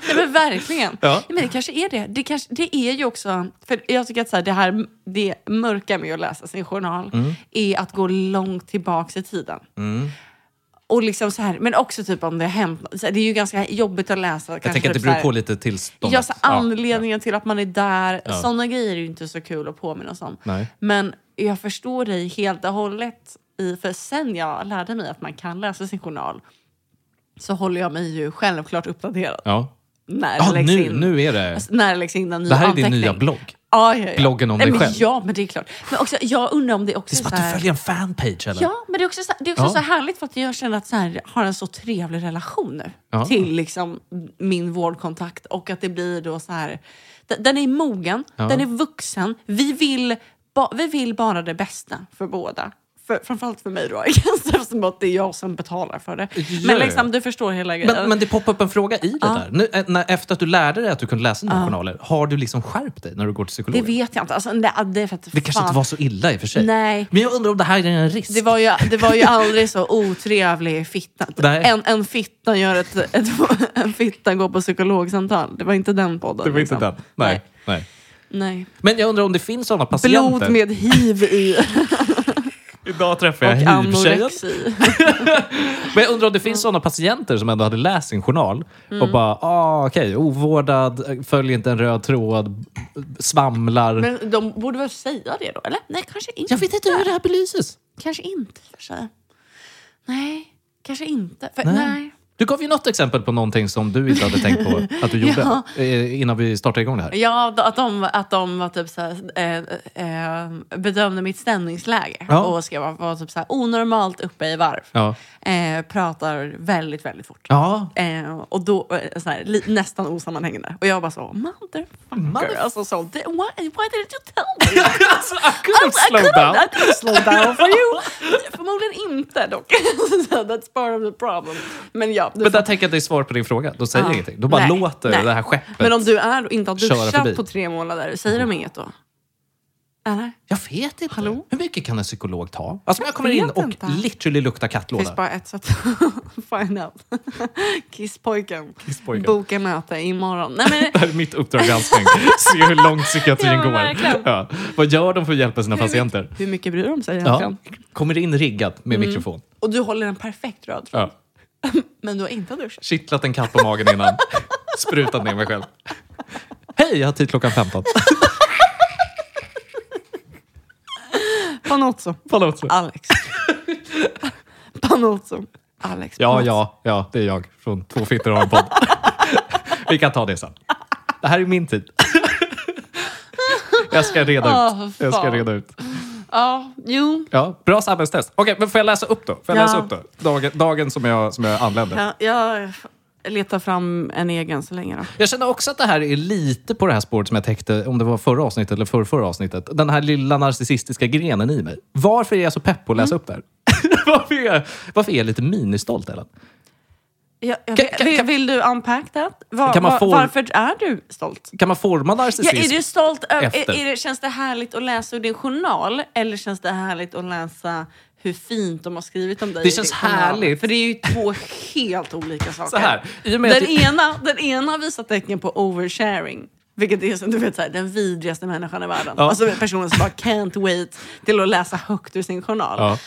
S2: Nej, men verkligen.
S1: Ja.
S2: Men det kanske är det. Det, kanske, det är ju också... För jag tycker att så här, det här det mörka med att läsa sin journal
S1: Mm.
S2: är att gå långt tillbaka i tiden. Och liksom så här, men också typ om det har hänt något. Så här, Det är ju ganska jobbigt att läsa.
S1: Jag tänker att det
S2: typ
S1: beror
S2: så
S1: på
S2: här,
S1: lite tillståndet.
S2: Ja, så
S1: Ja.
S2: anledningen till att man är där.
S1: Ja.
S2: Sådana grejer är ju inte så kul att påminna oss om.
S1: Nej.
S2: Men jag förstår dig helt och hållet. I, för sen jag lärde mig att man kan läsa sin journal så håller jag mig ju självklart uppdaterad.
S1: Ja.
S2: När
S1: Ja,
S2: det läggs
S1: nu,
S2: in.
S1: nu är det...
S2: Alltså, när det läggs in en ny
S1: Det här är din
S2: anteckning.
S1: nya blogg.
S2: Ja, ja, ja.
S1: Bloggen om
S2: Nej,
S1: dig
S2: men
S1: själv.
S2: Ja, men det är klart. Men också, jag undrar om det också
S1: Det är som
S2: så
S1: att du
S2: här...
S1: följer en fanpage eller?
S2: Ja, men det är också, så, det är också
S1: Ja.
S2: så härligt för att jag känner att så här, har en så trevlig relation nu
S1: Ja.
S2: till liksom min vårdkontakt och att det blir då så här... d- Den är mogen,
S1: Ja.
S2: den är vuxen. Vi vill, ba, vi vill bara det bästa för båda. för, framförallt för mig då, eftersom att det är jag som betalar för det.
S1: Ja,
S2: Men
S1: ja.
S2: liksom, du förstår hela grejen.
S1: Men, men det poppar upp en fråga i det
S2: Ja.
S1: där. Nu, eh, när, efter att du lärde dig att du kunde läsa dina journaler, har du liksom skärpt dig när du går till
S2: det
S1: psykologen? Det,
S2: vet jag inte. Alltså, det, det, är för att,
S1: kanske inte var så illa i och för sig.
S2: Nej.
S1: Men jag undrar om det här är en risk.
S2: Det var, ju, det var ju aldrig så otrevlig fitta. Typ.
S1: Nej.
S2: En, en fitta gör ett, ett, en fitta går på psykologsamtal. Det var inte den podden.
S1: Det var inte
S2: liksom.
S1: den. Nej. Nej.
S2: Nej.
S1: Men jag undrar om det finns sådana patienter.
S2: Blod med hiv i
S1: Idag träffar jag
S2: och
S1: hiv-tjejen.
S2: anorexi.
S1: Men jag undrar om det finns sådana patienter som ändå hade läst sin journal
S2: Mm.
S1: och bara, ah, okej, ovårdad, följer inte en röd tråd, svamlar.
S2: Men de borde väl säga det då? Eller? Nej, kanske inte.
S1: jag vet inte hur det här belyses.
S2: Kanske inte för sig. Nej, kanske inte. För,
S1: Nej.
S2: nej.
S1: Du gav ju något exempel på någonting som du inte hade tänkt på att du gjorde
S2: Ja.
S1: eh, innan vi startade igång det här.
S2: Ja, att de, att de var typ så här, eh, eh, bedömde mitt stämningsläge
S1: Ja.
S2: och skrev att jag var typ så här, onormalt uppe i varv.
S1: Ja.
S2: Eh, pratar väldigt, väldigt fort.
S1: Ja.
S2: Eh, och då, eh, så här, li, nästan osammanhängande. Och jag bara så, motherfucker.
S1: Motherf-
S2: alltså, så, "Di- why, why didn't you tell me?
S1: alltså, I couldn't
S2: I
S1: slow
S2: couldn't-
S1: down.
S2: I couldn't slow down for you. Förmodligen inte dock. So That's part of the problem. Men ja, du
S1: Men där
S2: fattar.
S1: tänker jag att det är svar på din fråga. Då säger
S2: Ja.
S1: jag ingenting. Då bara
S2: Nej,
S1: låter
S2: nej.
S1: det här skeppet.
S2: men om du är, och inte har
S1: Köra förbi.
S2: duschat på tre månader, säger de inget då? Eller?
S1: Jag vet inte.
S2: Hallå?
S1: Hur mycket kan en psykolog ta? Alltså, jag kommer
S2: vet
S1: in och
S2: inte.
S1: literally luktar
S2: Det finns
S1: kattlåda.
S2: bara ett sätt att find out. Kisspojken.
S1: Kisspojken.
S2: Boka möte imorgon. Nej, men,
S1: Det här är mitt uppdrag granskning. Se hur långt psykiatrin
S2: Ja,
S1: går.
S2: verkligen.
S1: Ja. Vad gör de för att hjälpa sina patienter?
S2: hur mycket bryr de sig
S1: Ja.
S2: egentligen?
S1: Kommer in riggat med
S2: Mm.
S1: mikrofon.
S2: Och du håller en perfekt röd tråd.
S1: Ja.
S2: Men du har inte duschat.
S1: Kittlat en katt på magen innan. Sprutat ner mig själv. Hej, jag har tid klockan 15.
S2: Panozzo.
S1: Palazzo.
S2: Alex. Panozzo. Alex.
S1: Ja,
S2: Panozzo.
S1: ja, ja, det är jag från Två fittor och en podd. Vi kan ta det sen. Det här är min tid. Jag ska reda
S2: Åh,
S1: ut. Jag ska
S2: fan.
S1: reda ut.
S2: ja. Jo.
S1: Ja, bra samhällstest. Okej, men får jag läsa upp då? Får jag
S2: Ja.
S1: läsa upp då? Dagen, dagen som, jag, som jag anlände.
S2: Ja, jag letar fram en egen så länge då.
S1: Jag känner också att det här är lite på det här spåret som jag täckte, om det var förra avsnittet eller förra, förra avsnittet. Den här lilla narcissistiska grenen i mig. Varför är jag så pepp på att läsa
S2: Mm.
S1: upp det här? varför, är jag, varför är jag lite ministolt, Ellen?
S2: Jag, jag,
S1: Kan- kan-
S2: vill,
S1: kan-
S2: vill du unpack that? Var,
S1: Kan man
S2: var,
S1: få-
S2: Varför är du stolt?
S1: Kan man forma
S2: Ja,
S1: narcissism?
S2: är du stolt? över-
S1: Efter.
S2: Är, är det, känns det härligt att läsa ur din journal eller känns det härligt att läsa hur fint de har skrivit om dig?
S1: Det typ
S2: i
S1: känns
S2: din journal?
S1: härligt.
S2: För det är ju två helt olika saker.
S1: Så här, i och med
S2: den,
S1: att jag-
S2: ena, den ena har visat tecken på oversharing. Vilket är som du vet, så här, den vidrigaste människan i världen.
S1: Ja.
S2: Alltså personen som bara can't wait till att läsa högt ur sin journal.
S1: Ja.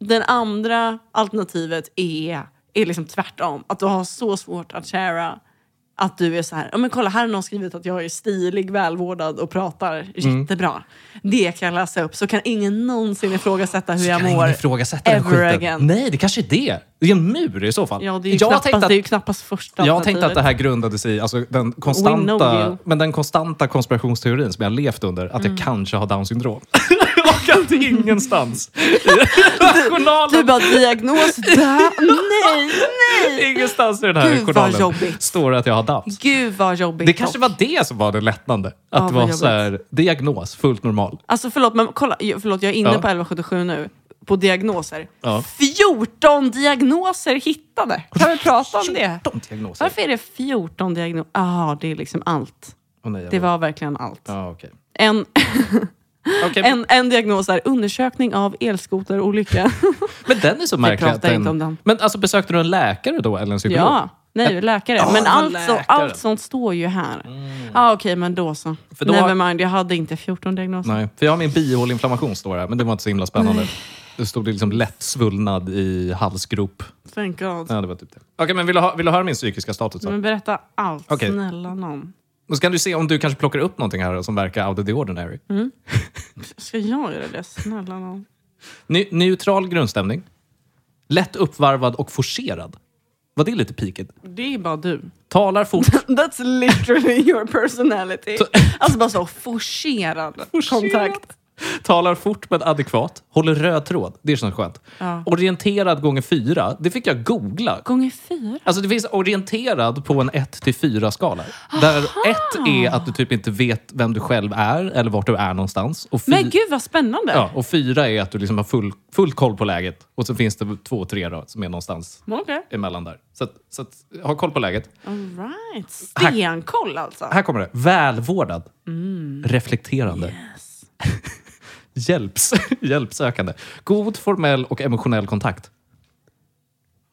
S2: Den andra alternativet är, är liksom tvärtom. Att du har så svårt att shara att du är så här, ja men kolla här har någon skrivit att jag är stilig, välvårdad och pratar
S1: Mm.
S2: jättebra. Det kan jag läsa upp så kan ingen någonsin ifrågasätta hur jag
S1: Kan
S2: mår.
S1: ingen ifrågasätta den
S2: ever
S1: skiten?
S2: again.
S1: Nej, det kanske är det. Det är en mur i så fall.
S2: Ja, det är ju,
S1: jag
S2: knappast,
S1: tänkte att,
S2: det är ju knappast första
S1: jag tänkte att det
S2: alternativet.
S1: här grundade sig i alltså, den,
S2: know
S1: konstanta,
S2: you. Mm.
S1: men den konstanta konspirationsteorin som jag levt under, att jag kanske har Downs syndrom. Och att det är ingenstans i
S2: Du
S1: journalen,
S2: bara diagnos, dö, nej, nej!
S1: ingenstans i den här
S2: Gud, vad
S1: journalen
S2: jobbigt.
S1: står det att jag har Downs.
S2: Gud vad jobbigt.
S1: Det kanske var det som var det lättande. Att
S2: vad
S1: det var
S2: jobbigt.
S1: så här, diagnos, fullt normal.
S2: Alltså förlåt, men kolla, jag- förlåt, jag är inne
S1: Ja.
S2: på 1177 nu. På diagnoser.
S1: Ja.
S2: 14 diagnoser hittade! Kan vi prata om det?
S1: 14 diagnoser.
S2: Varför är det 14 diagnoser? Jaha, det är liksom allt.
S1: Åh, nej, jag
S2: Det
S1: vet.
S2: var verkligen allt.
S1: Ja, okej.
S2: En,
S1: Okej,
S2: en, en diagnos är undersökning av elskoterolycka.
S1: Men den är så märklig.
S2: pratar
S1: att den-
S2: inte om den.
S1: Men alltså, besökte du en läkare då, eller en psykolog?
S2: ja, nej, läkare.
S1: Ja,
S2: men
S1: det var
S2: allt, så,
S1: läkaren. Mm.
S2: allt sånt står ju här. Ah, Okej, men då så.
S1: För då-
S2: Never mind, jag hade inte 14 diagnoser.
S1: Nej, för jag har min bihåleinflammation står här, men det var inte så himla spännande. Det stod det liksom lätt svullnad i halsgrop.
S2: Thank God.
S1: Ja, det var typ det. Okej, men vill du, ha, vill du höra min psykiska status? Då?
S2: Men berätta allt,
S1: Okej.
S2: snälla någon.
S1: Och så kan du se om du kanske plockar upp någonting här som verkar out of the ordinary.
S2: Ska jag göra det? Snälla någon.
S1: Ne- neutral grundstämning. Lätt uppvarvad och forcerad. Var det lite pikigt?
S2: Det är bara du.
S1: Talar fort.
S2: That's literally your personality. Alltså bara så forcerad kontakt.
S1: Talar fort men adekvat. Håller röd tråd. Det känns skönt.
S2: Ja.
S1: Orienterad gånger fyra. Det fick jag googla.
S2: Gånger fyra?
S1: Alltså det finns orienterad på en 1-4-skala. Där 1 är att du typ inte vet vem du själv är eller vart du är någonstans. Och fy-
S2: Men gud vad spännande!
S1: Ja, och 4 är att du liksom har full, full koll på läget. Och så finns det 2 och 3 då, som är någonstans
S2: Okej.
S1: emellan där. Så, att, så att, ha koll på läget.
S2: All right. Stenkoll alltså.
S1: Här kommer det. Välvårdad.
S2: Mm.
S1: Reflekterande. Hjälps, hjälpsökande. God formell och emotionell kontakt.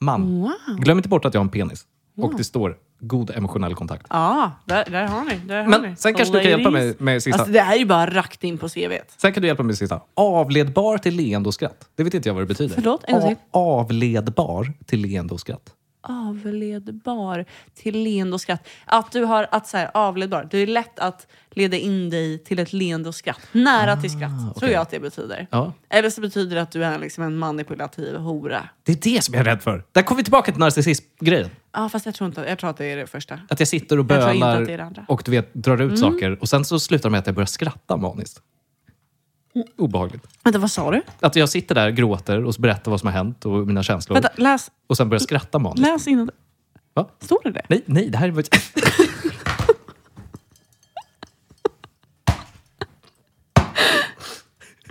S1: Man.
S2: Wow.
S1: Glöm inte bort att jag har en penis. Och det står god emotionell kontakt.
S2: Ja, där, där har ni. Där har
S1: Men
S2: ni.
S1: sen kanske du kan hjälpa mig
S2: Ladies.
S1: med sista.
S2: Alltså det här är ju bara rakt in på CVt.
S1: Sen kan du hjälpa mig med sista. Avledbar till leende och skratt. Det vet inte jag vad det betyder.
S2: Förlåt, en gång till.
S1: A- avledbar till leende och skratt.
S2: Avledbar till leende och skratt. Att du har att så här, avledbar. Det är lätt att leda in dig till ett leende och skratt. Nära till skratt, tror
S1: Ah, okej.
S2: jag att det betyder.
S1: Ja.
S2: Eller så betyder det att du är liksom en manipulativ hora.
S1: Det är det som jag är rädd för. Där kommer vi tillbaka till narcissism-grejen.
S2: Ja, fast jag tror, inte, jag tror att det är det första.
S1: Att jag sitter och
S2: Jag tror inte
S1: bölar
S2: att det är det andra. Mm.
S1: och du vet, drar ut saker. Och sen så slutar det med att jag börjar skratta maniskt. Obehagligt.
S2: Vänta, vad sa du?
S1: Att jag sitter där, gråter och så berättar vad som har hänt och mina känslor.
S2: Vänta, läs,
S1: Och sen börjar skratta maniskt.
S2: läs innan.
S1: Va?
S2: Står det det?
S1: Nej, nej, det här är... vad-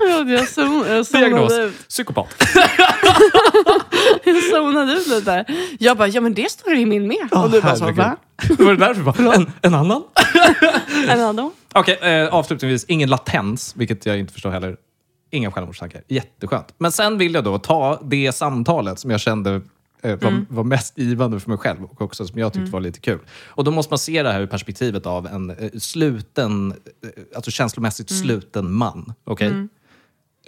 S2: Jag, jag, zon, jag,
S1: Diagnos.
S2: zonade ut.
S1: Psykopat.
S2: jag zonade ut lite. där. Jag bara, ja men det står det i min med.
S1: Åh,
S2: Och du bara, så,
S1: herregud.
S2: va?
S1: Var det därför? Bara, En, en annan?
S2: En annan?
S1: Okej, eh, avslutningsvis. Ingen latens, vilket jag inte förstår heller. Inga självmordstankar. Jätteskönt. Men sen vill jag då ta det samtalet som jag kände eh, var, var mest givande för mig själv och också som jag tyckte var lite kul. Och då måste man se det här ur perspektivet av en eh, sluten, eh, alltså känslomässigt sluten man. Okej?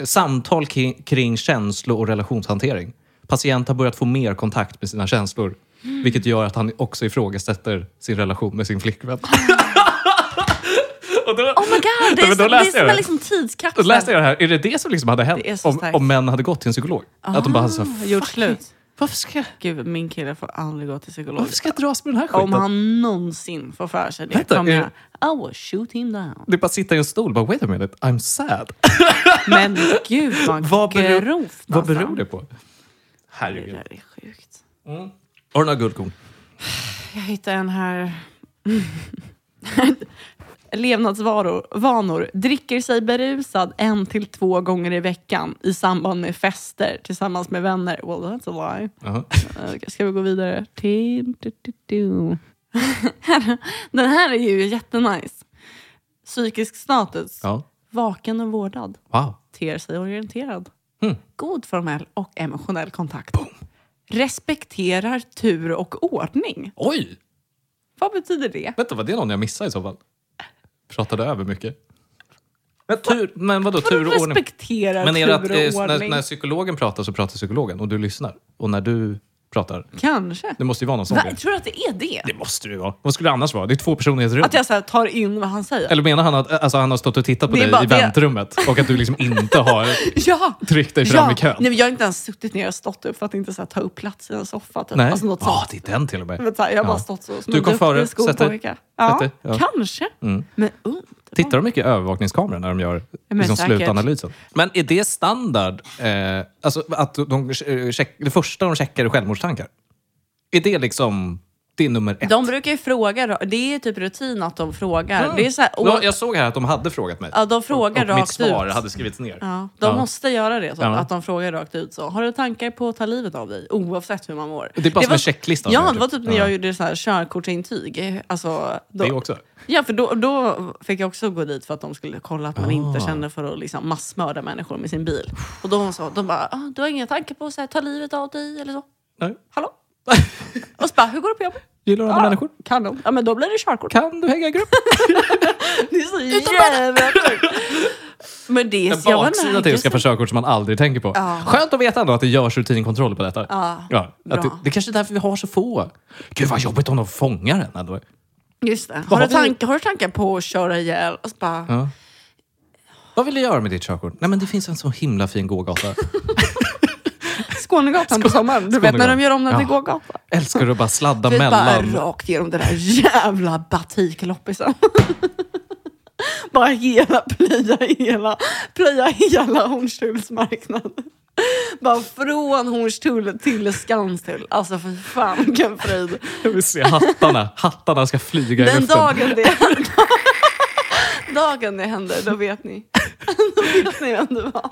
S1: Samtal kring, kring känslo och relationshantering. Patient har börjat få mer kontakt med sina känslor, vilket gör att han också ifrågasätter sin relation med sin flickvän. och då,
S2: Oh my god, det
S1: Nej, men
S2: är,
S1: då
S2: så, det
S1: läste
S2: är
S1: jag
S2: som en
S1: det.
S2: liksom
S1: då
S2: tidskapsel.
S1: läste jag det här. Är det det som liksom hade
S2: Det är
S1: hänt
S2: så
S1: om,
S2: starkt.
S1: om män hade gått till en psykolog? Att de bara hade så, här,
S2: Ah, gjort
S1: "Fuck,
S2: slut.
S1: Varför ska, jag-
S2: Gud, min kille får aldrig gå till psykolog.
S1: varför ska jag dras med den här skiten?
S2: Om han någonsin får för sig det
S1: Vänta,
S2: kommer
S1: är-
S2: jag... I will shoot him down.
S1: Du bara sitta i en stol och bara wait a minute, I'm sad.
S2: Men gud vad,
S1: Vad beror-
S2: grovt
S1: Vad
S2: alltså.
S1: beror det på?
S2: Det
S1: Herregud.
S2: där är sjukt.
S1: Har du några guldkorn?
S2: Jag hittade en här... Levnadsvaror, vanor. Dricker sig berusad en till två gånger i veckan i samband med fester tillsammans med vänner. Well, that's a lie.
S1: Jaha.
S2: Eh, Ska vi gå vidare? Till- du- du- du. Den här är ju jättenice. Psykisk status.
S1: Ja.
S2: Vaken och vårdad.
S1: Wow.
S2: Ter sig orienterad.
S1: Mm.
S2: God formell och emotionell kontakt. Respekterar tur och ordning.
S1: Oj!
S2: Vad betyder det?
S1: Vänta, var det någon jag missade i så fall? Pratade över mycket. Men, tur, men vadå, tur och ordning?
S2: respekterar
S1: Men är det att
S2: tur
S1: eh,
S2: och
S1: när,
S2: ordning?
S1: när psykologen pratar så pratar psykologen och du lyssnar? Och när du pratar?
S2: Kanske.
S1: Det måste ju vara någon sån
S2: Va,
S1: grej.
S2: tror du att det är det?
S1: Det måste det ju vara. Vad skulle det annars vara? Det är två personer i ett rum.
S2: Att jag så här, tar in vad han säger?
S1: Eller menar han att alltså, han har stått och tittat på
S2: Det är
S1: dig
S2: bara
S1: i
S2: det.
S1: väntrummet och att du liksom inte har
S2: Ja!
S1: tryckt dig fram i kön?
S2: Nej, men jag har inte ens suttit ner och stått upp för att inte så här, ta upp plats i en soffa. Typ.
S1: Nej.
S2: Alltså, något
S1: ah,
S2: sånt.
S1: det är den till och med.
S2: Vet du, jag har bara
S1: Ja.
S2: stått så som
S1: Du
S2: en
S1: kom
S2: duktig
S1: före, sätt dig.
S2: skolpojke. Ja,
S1: Sätt dig, ja. Mm.
S2: Kanske. Men typ. underbart.
S1: Tittar de mycket i övervakningskameror när de gör
S2: men
S1: liksom,
S2: säkert.
S1: slutanalysen? Men är det standard, eh, alltså att de, eh, check, det första de checkar är självmordstankar? Är det liksom, det är nummer ett?
S2: De brukar ju fråga. ra- Det är typ rutin att de frågar. Det är så här, och,
S1: Mm. Nå, jag såg här att de hade frågat mig.
S2: ja, de frågar
S1: och
S2: rakt
S1: mitt svar
S2: ut.
S1: hade skrivits ner.
S2: Ja, de
S1: Ja.
S2: måste göra det. Så
S1: Ja.
S2: Att de frågar rakt ut. Så. Har du tankar på att ta livet av dig? Oavsett hur man mår.
S1: Det är bara som
S2: var-
S1: en checklista,
S2: Ja, det
S1: egentligen.
S2: var typ när
S1: Ja.
S2: jag gjorde så här körkortsintyg. Alltså, då,
S1: Det också.
S2: Ja, för då, då fick jag också gå dit för att de skulle kolla att man inte
S1: Ah.
S2: kände för att liksom massmörda människor med sin bil. Och de, sa, de bara, ah, du har inga tankar på att så här, ta livet av dig eller så?
S1: Nej.
S2: Hallå? Och så bara, hur går det på jobbet?
S1: Gillar du andra
S2: Ah,
S1: människor?
S2: Kanon. Ja, men då blir det körkort.
S1: Kan du hänga i grupp?
S2: Det är så jävla sjukt. Men det är
S1: En
S2: så jag var
S1: baksida till att
S2: nervös.
S1: skaffa körkort som man aldrig tänker på.
S2: Ja.
S1: Skönt att veta ändå att det görs rutinkontroll på detta.
S2: Ja,
S1: att det,
S2: bra.
S1: det kanske är därför vi har så få. Gud vad jobbigt om de fångar en ändå.
S2: Just det.
S1: Vad
S2: Har,
S1: har
S2: du
S1: vi-
S2: tankar, har du tankar på att köra ihjäl? Och så bara,
S1: Ja. Vad vill du göra med ditt körkort? Nej men det finns en så himla fin gågata.
S2: Skånegatan på sommaren. Du vet när
S1: Skånegatan.
S2: de gör om den till
S1: Ja.
S2: gågata.
S1: Älskar du att bara sladda
S2: Du vet, bara
S1: mellan.
S2: rakt igenom den där jävla batikloppisen. Bara hela, plöja hela, plöja hela Hornstulls marknad. Bara från Hornstull till Skanstull. Alltså för fan vilken fröjd.
S1: Jag vill se hattarna. Hattarna ska flyga i
S2: Den
S1: luften.
S2: dagen det händer, dagen det händer, då vet ni. Då vet ni vem det var.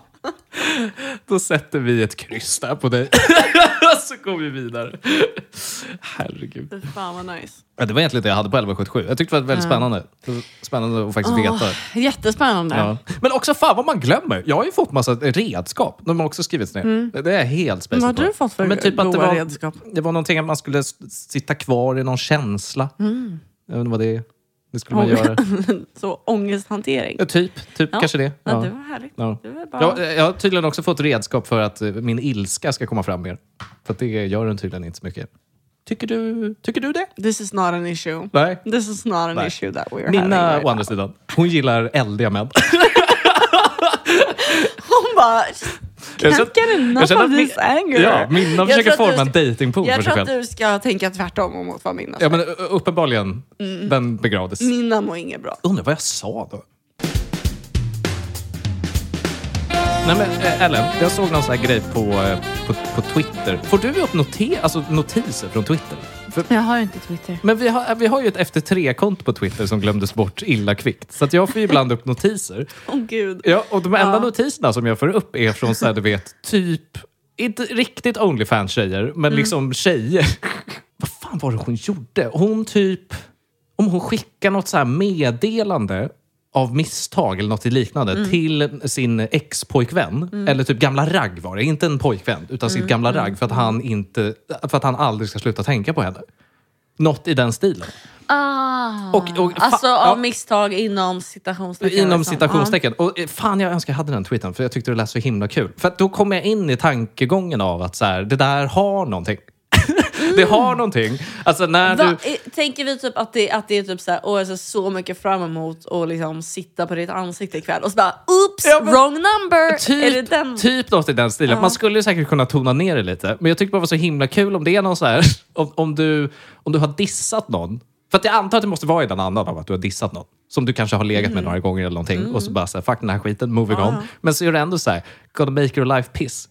S1: Då sätter vi ett kryss där på dig. så går vi vidare. Herregud.
S2: Fy fan vad nice.
S1: Ja, det var egentligen det jag hade på 1177. Jag tyckte det var väldigt spännande. Spännande att faktiskt veta.
S2: Åh, jättespännande.
S1: Ja. Men också fan vad man glömmer. Jag har ju fått massa redskap. De har också skrivits ner. Det är helt spacet
S2: Mm. Vad har
S1: på.
S2: du fått för
S1: Men typ att det
S2: goa
S1: var,
S2: redskap?
S1: Det var någonting att man skulle s- sitta kvar i någon känsla.
S2: Mm.
S1: Jag vet inte vad det är. Det skulle man
S2: Ång-
S1: göra.
S2: Så ångesthantering.
S1: Ja, typ. Typ
S2: Ja.
S1: kanske det. Ja.
S2: Ja. det var härligt.
S1: Ja. eh-
S2: Det var bara...
S1: Jag, jag har tydligen också fått redskap för att eh, min ilska ska komma fram mer. För att det gör den tydligen inte så mycket. Tycker du, tycker du det?
S2: This is not an issue.
S1: Nej.
S2: This is not an
S1: Nej.
S2: issue that we're having.
S1: Minna
S2: right
S1: å andra sidan, hon gillar eldiga män.
S2: Hon bara,
S1: Jag
S2: can't get enough
S1: känner
S2: of
S1: att
S2: this
S1: Min-
S2: anger.
S1: Ja, Minna
S2: Jag
S1: försöker
S2: tror att du
S1: forma en
S2: ska-
S1: dejtingpool för sig
S2: Jag tror att Mm.
S1: själv.
S2: du ska tänka tvärtom om mot vad Minna
S1: Ja,
S2: sa.
S1: men ö- uppenbarligen,
S2: Mm.
S1: den begravdes.
S2: Minna mår inget bra.
S1: Undrar vad jag sa då? Nej men eh, Ellen, jag såg någon sån här grej på, eh, på, på Twitter. Får du upp note- alltså, notiser från Twitter? För,
S2: Jag har inte Twitter.
S1: men vi har, vi har ju ett efter tre-konto på Twitter som glömdes bort illa kvickt. Så att jag får ju ibland upp notiser.
S2: Åh gud.
S1: Ja, och de enda
S2: Ja.
S1: notiserna som jag får upp är från så här, du vet, typ, inte riktigt Onlyfans-tjejer, men liksom tjejer. Vad fan var det hon gjorde? Hon typ, om hon skickar något så här meddelande av misstag eller något liknande till sin ex-pojkvän, eller typ gamla ragg var det, inte en pojkvän, utan sitt gamla ragg för att, han inte, för att han aldrig ska sluta tänka på henne. Något i den stilen.
S2: Ah.
S1: Och- och fa-
S2: alltså
S1: ja.
S2: av misstag inom citationstecken.
S1: Inom
S2: liksom.
S1: citationstecken. Och eh, fan, jag önskar jag hade den tweeten för jag tyckte det lät så himla kul. För att då kom jag in i tankegången av att så här, det där har någonting. det har någonting. Alltså när
S2: Ja. Va,
S1: du...
S2: eh, Tänker vi typ att det, att det är typ såhär, åh jag ser så mycket fram emot att liksom sitta på ditt ansikte ikväll och så bara oops,
S1: Ja, men-
S2: wrong number! är det
S1: Typ,
S2: den?
S1: typ något i den stilen. Man skulle ju säkert kunna tona ner det lite. Men jag tycker bara det var så himla kul om det är någon så här... Om, om, du, om du har dissat någon. För att jag antar att det måste vara i den andan av att du har dissat någon. Som du kanske har legat
S2: Mm.
S1: med några gånger eller någonting. Och så bara så här, fuck den här skiten, moving on. Men så är det ändå så här, gonna make your life piss.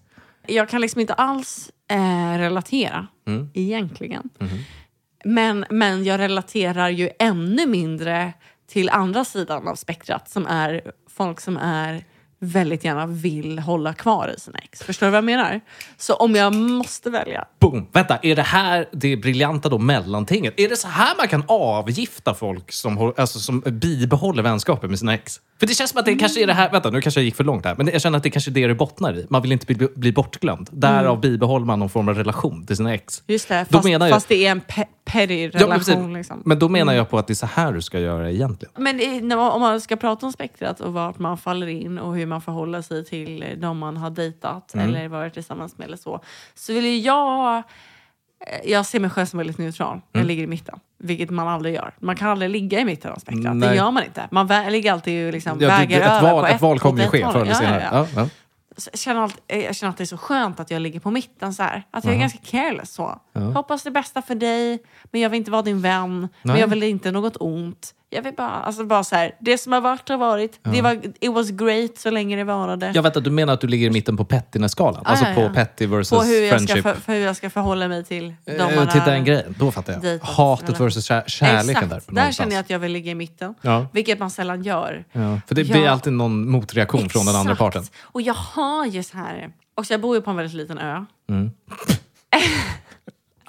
S2: Jag kan liksom inte alls eh, relatera
S1: Mm.
S2: egentligen.
S1: Mhm.
S2: Men, men jag relaterar ju ännu mindre till andra sidan av spektrat som är folk som är väldigt gärna vill hålla kvar i sina ex. Förstår du vad jag menar? Så om jag måste välja.
S1: Boom! Vänta, är det här det briljanta då mellantinget? Är det så här man kan avgifta folk som, hå- alltså, som bibehåller vänskapen med sina ex? För det känns som att det
S2: Mm.
S1: kanske är det här... Vänta, nu kanske jag gick för långt här. Men jag känner att det kanske är det det bottnar i. Man vill inte bli, bli bortglömd.
S2: Mm.
S1: Därav bibehåller man någon form av relation till sina ex.
S2: Just det,
S1: Då
S2: fast,
S1: menar jag-
S2: fast det är en pe- petty
S1: Ja, men, precis.
S2: relation. liksom.
S1: men då menar jag på att det är så här du ska göra egentligen.
S2: Men i- när man- om man ska prata om spektrat och vart man faller in och hur man förhåller sig till eh, de man har dejtat
S1: Mm.
S2: eller varit tillsammans med eller så. Så vill ju jag... eh, Jag ser mig själv som väldigt neutral. Jag
S1: Mm.
S2: ligger i mitten. Vilket man aldrig gör. Man kan aldrig ligga i mitten av spektrat.
S1: Nej.
S2: Det gör man inte. Man vä- ligger alltid och liksom
S1: Ja, det, det,
S2: väger
S1: ett,
S2: över
S1: val,
S2: på
S1: ett val kommer ju
S2: åt ett
S1: ske
S2: håll.
S1: förr eller
S2: Ja, ja,
S1: senare.
S2: ja.
S1: Ja, ja.
S2: Så jag, känner alltid, eh, jag känner att det är så skönt att jag ligger på mitten så här. Att jag är ganska careless så. Jag hoppas det bästa för dig, men jag vill inte vara din vän. Men
S1: Nej.
S2: jag vill inte något ont. Jag vill bara, alltså bara så här, det som har varit har varit. Det var, it was great så länge det varade.
S1: Ja, vänta, du menar att du ligger i mitten på pettiness-skalan? Alltså
S2: ja,
S1: på
S2: ja.
S1: petty versus
S2: på hur jag, ska
S1: friendship?
S2: för, för hur jag ska förhålla mig till de
S1: Eh,
S2: man
S1: till
S2: har-
S1: den grejen. Då fattar jag.
S2: dejtat
S1: Hatet
S2: eller-
S1: versus kär- kärleken där.
S2: Exakt, där känner jag att jag vill ligga i mitten.
S1: Ja.
S2: Vilket man sällan gör.
S1: Ja, för det blir
S2: Ja.
S1: alltid någon motreaktion från den andra
S2: Exakt.
S1: parten.
S2: Och jag har ju så här... Också jag bor ju på en väldigt liten ö.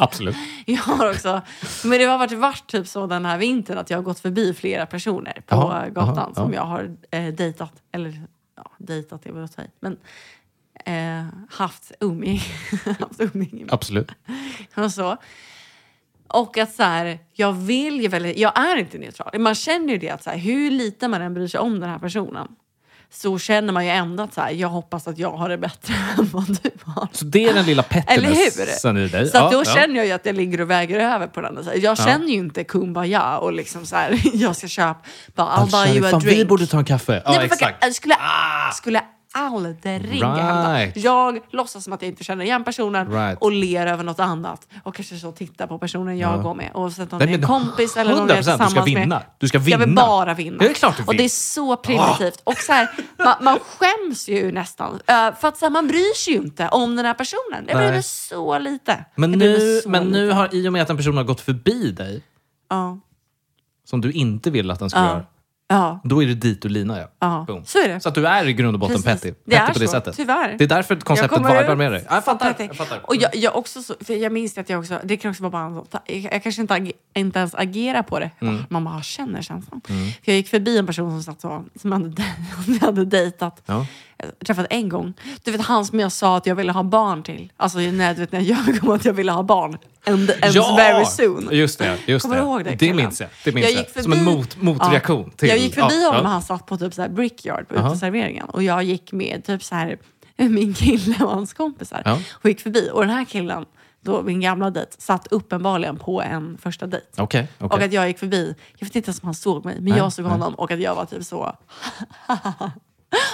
S1: Absolut.
S2: Jag har också, men det har varit, varit typ så den här vintern att jag har gått förbi flera personer på
S1: Jaha,
S2: gatan
S1: jaha,
S2: som
S1: ja.
S2: jag har eh, dejtat. Eller ja, dejtat är väl att ta i. Men eh, haft umgänge haft umgänge med.
S1: Absolut.
S2: Och så. Och att så här, jag vill ju väldigt, jag är inte neutral. Man känner ju det att så här, hur lite man än bryr sig om den här personen så känner man ju ändå att så här, jag hoppas att jag har det bättre än vad du har.
S1: Så det är den lilla
S2: Eller hur?
S1: pettinessen i dig.
S2: Så att
S1: Ja,
S2: då
S1: ja.
S2: känner jag ju att jag ligger och väger över på den. andra sidan. Jag känner ju inte kumbaya och liksom så här, jag ska köpa, bara, I'll
S1: Fan,
S2: buy you a
S1: fan,
S2: drink.
S1: Vi borde ta en kaffe. Ja,
S2: Nej, men fuck,
S1: exakt. Ah!
S2: jag skulle, skulle aldrig
S1: Right.
S2: hända. Jag låtsas som att jag inte känner igen personen
S1: Right.
S2: och ler över något annat. Och kanske så tittar på personen jag
S1: Ja.
S2: går med. Oavsett om
S1: Nej,
S2: det är en
S1: men
S2: kompis eller om det
S1: 100%
S2: är
S1: du
S2: tillsammans
S1: ska vinna.
S2: med.
S1: Du ska vinna.
S2: Jag vill bara vinna.
S1: Det är klart du
S2: och
S1: vill.
S2: det är så primitivt. Och så här, man, man skäms ju nästan. Eh, för att så här, man bryr sig ju inte om den här personen. Jag bryr
S1: Nej.
S2: mig så lite.
S1: Men
S2: Jag bryr mig
S1: nu,
S2: så
S1: men
S2: lite.
S1: nu har, i och med att en person har gått förbi dig,
S2: Ja.
S1: som du inte ville att den skulle
S2: Ja.
S1: göra,
S2: Ja.
S1: då är det dit du linar. Ja.
S2: Ja.
S1: Boom.
S2: Så är det.
S1: Så att du är i grund och botten
S2: Precis.
S1: petty.
S2: Det är
S1: petty på det
S2: så,
S1: sättet.
S2: tyvärr.
S1: Det är därför konceptet
S2: kommer
S1: vibar
S2: ut
S1: med dig. Ja, Jag fattar.
S2: Fattar.
S1: Jag fattar.
S2: Och jag, jag, också så, för jag minns att jag också, det kan också vara bara en sån, ta- jag, jag kanske inte, ag, inte ens agerar på det.
S1: Mm.
S2: Jag bara, Man bara känner känslan. För jag gick förbi en person som satt så, som jag hade, dej- jag hade dejtat.
S1: Ja.
S2: Jag träffat en gång. Du vet han som jag sa att jag ville ha barn till. Alltså när, du vet, när jag ljög om att jag ville ha barn. And, and very soon.
S1: Just det. Just
S2: Kommer
S1: det.
S2: du ihåg det?
S1: Det
S2: killen?
S1: minns jag. Det minns jag.
S2: gick
S1: Som en
S2: förbi-
S1: mot, motreaktion.
S2: Ja.
S1: Till,
S2: jag gick förbi
S1: ja,
S2: honom och
S1: ja.
S2: han satt på typ så här brickyard på uteserveringen och jag gick med typ så här min kille och hans kompisar
S1: Ja.
S2: och gick förbi. Och den här killen, då min gamla dejt, satt uppenbarligen på en första dejt.
S1: Okej.
S2: Och
S1: okej.
S2: att jag gick förbi. Jag vet inte ens om han såg mig, men jag såg honom och att jag var typ så...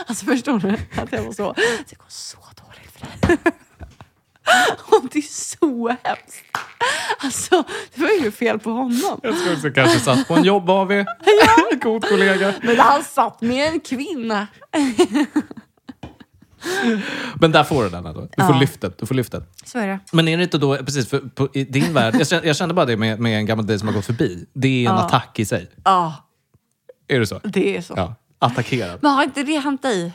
S2: alltså förstår du? Att jag var så... Det går så dåligt för dig. och det är så hemskt. Alltså, det var ju fel på honom.
S1: Jag tror också kanske satt på en jobb av er. God kollega.
S2: Men han satt med en kvinna.
S1: Men där får du den ändå. Du får
S2: Ja.
S1: lyftet. Du får lyftet.
S2: Så är det.
S1: Men är det inte då, precis, för, på, i din värld, jag kände, jag kände bara det med, med en gammal dejt som har gått förbi. Det är en attack i sig.
S2: Ja,
S1: Är det så?
S2: det är så.
S1: Ja. Attackerad.
S2: Men har inte det hänt dig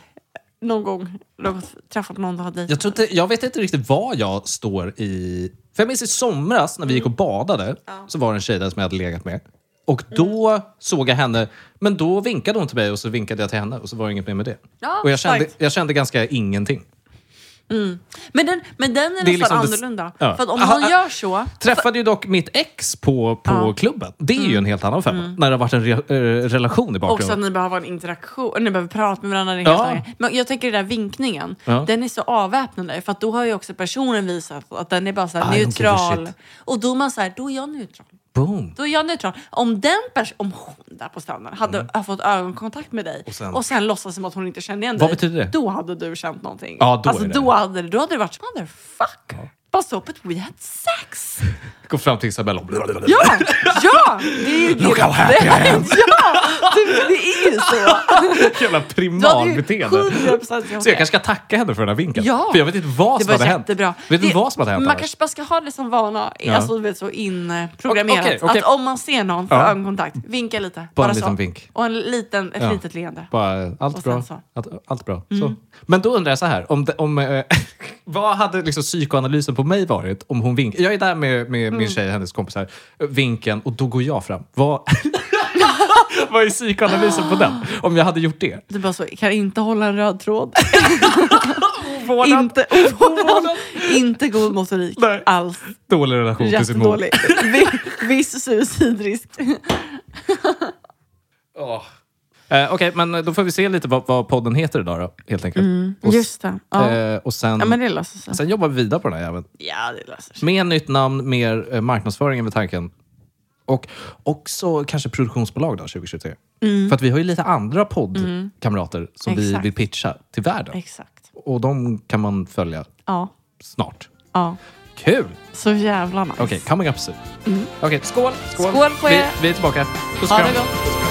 S2: någon gång? Något, träffat någon du har dejtat?
S1: Jag, tror inte, jag vet inte riktigt var jag står i... För jag minns i somras när vi gick
S2: Mm.
S1: och badade så var det en tjej där som jag hade legat med. Och då såg jag henne, men då vinkade hon till mig och så vinkade jag till henne och så var det inget mer med det.
S2: Ja,
S1: och jag kände,
S2: starkt.
S1: jag kände ganska ingenting.
S2: Men den, men den är,
S1: Det är
S2: nästan
S1: liksom det-
S2: annorlunda.
S1: ja.
S2: För att om
S1: Aha,
S2: någon
S1: ah.
S2: gör så...
S1: Träffade ju dock mitt ex på, på klubben. Det är ju en helt annan femma. När det har varit en re, eh, relation i
S2: Mm. Också
S1: bakgrunden.
S2: att ni behöver ha en interaktion, ni behöver prata med varandra. det är
S1: Ja.
S2: helt annorlunda. Men jag tänker den där vinkningen,
S1: Ja.
S2: den är så avväpnande. För att då har ju också personen visat att den är bara så här
S1: I don't give a
S2: neutral.
S1: shit.
S2: Och då är man så här, då är jag neutral.
S1: Boom!
S2: Då är jag neutral. Om den pers- om hon där på stranden hade har fått ögonkontakt med dig och sen,
S1: Mm. sen-
S2: låtsas som att hon inte känner igen dig.
S1: Vad betyder det?
S2: Då hade du känt någonting.
S1: Ja, då
S2: alltså,
S1: är det.
S2: då, hade, då hade det varit så, motherfucker. Bara så på ett we had sex.
S1: Gå fram till Isabella och...
S2: Ja, ja! Det är ju
S1: Look how happy I am!
S2: Ja, det, det är ju så.
S1: Jävla
S2: Du hade ju
S1: primalbeteende.
S2: 100% gjort
S1: Så jag
S2: det.
S1: kanske ska tacka henne för den här vinkeln.
S2: Ja.
S1: För jag vet inte vad
S2: Det
S1: som hade
S2: var
S1: hänt.
S2: jättebra.
S1: Jag vet inte
S2: Det-
S1: vad som hade hänt
S2: Man
S1: annars.
S2: kanske bara ska ha det som vana,
S1: Ja.
S2: alltså du vet så inprogrammerat.
S1: Okej, okej.
S2: Att om man ser någon, får
S1: Ja.
S2: ögonkontakt, vinka lite. Bara,
S1: Bara en
S2: så.
S1: liten vink.
S2: Och en liten, ett
S1: Ja.
S2: litet leende.
S1: Bara,
S2: Och
S1: allt,
S2: sen
S1: bra.
S2: så. Mm.
S1: Allt, allt bra. Så. Men då undrar jag så här. Om det, om, eh, vad hade liksom psykoanalysen på mig varit om hon vinkar? Jag är där med, med
S2: Mm.
S1: min tjej och hennes kompisar. eh, Vinkeln och då går jag fram. Vad, vad är psykoanalysen på den? Om jag hade gjort det?
S2: Du bara så, kan inte hålla en röd tråd.
S1: Vårdnad,
S2: inte,
S1: Ovårdnad.
S2: inte god motorik
S1: Nej.
S2: alls.
S1: dålig relation till sin mor.
S2: Jättedålig. Vi- Viss suicidrisk.
S1: Åh. Eh, Okej, men då får vi se lite vad, vad podden heter idag då, helt enkelt. Och, s-
S2: Mm. Just det. Ja.
S1: eh, och sen,
S2: ja, men det löser sig.
S1: sen jobbar vi vidare på den här jäveln.
S2: Ja, det löser sig.
S1: Med nytt namn, mer eh, marknadsföring över tanken. Och också kanske produktionsbolag då, 2023. För att vi har ju lite andra poddkamrater som vi
S2: Mm. Exakt.
S1: vill pitcha till världen.
S2: Exakt.
S1: Och de kan man följa
S2: Ja.
S1: snart.
S2: ja.
S1: Kul!
S2: Så jävla nice.
S1: Okej, coming up soon. Okej, skål!
S2: Mm. Skål på
S1: vi,
S2: er.
S1: vi är tillbaka. Puss och
S2: Ha det
S1: kram.
S2: gott.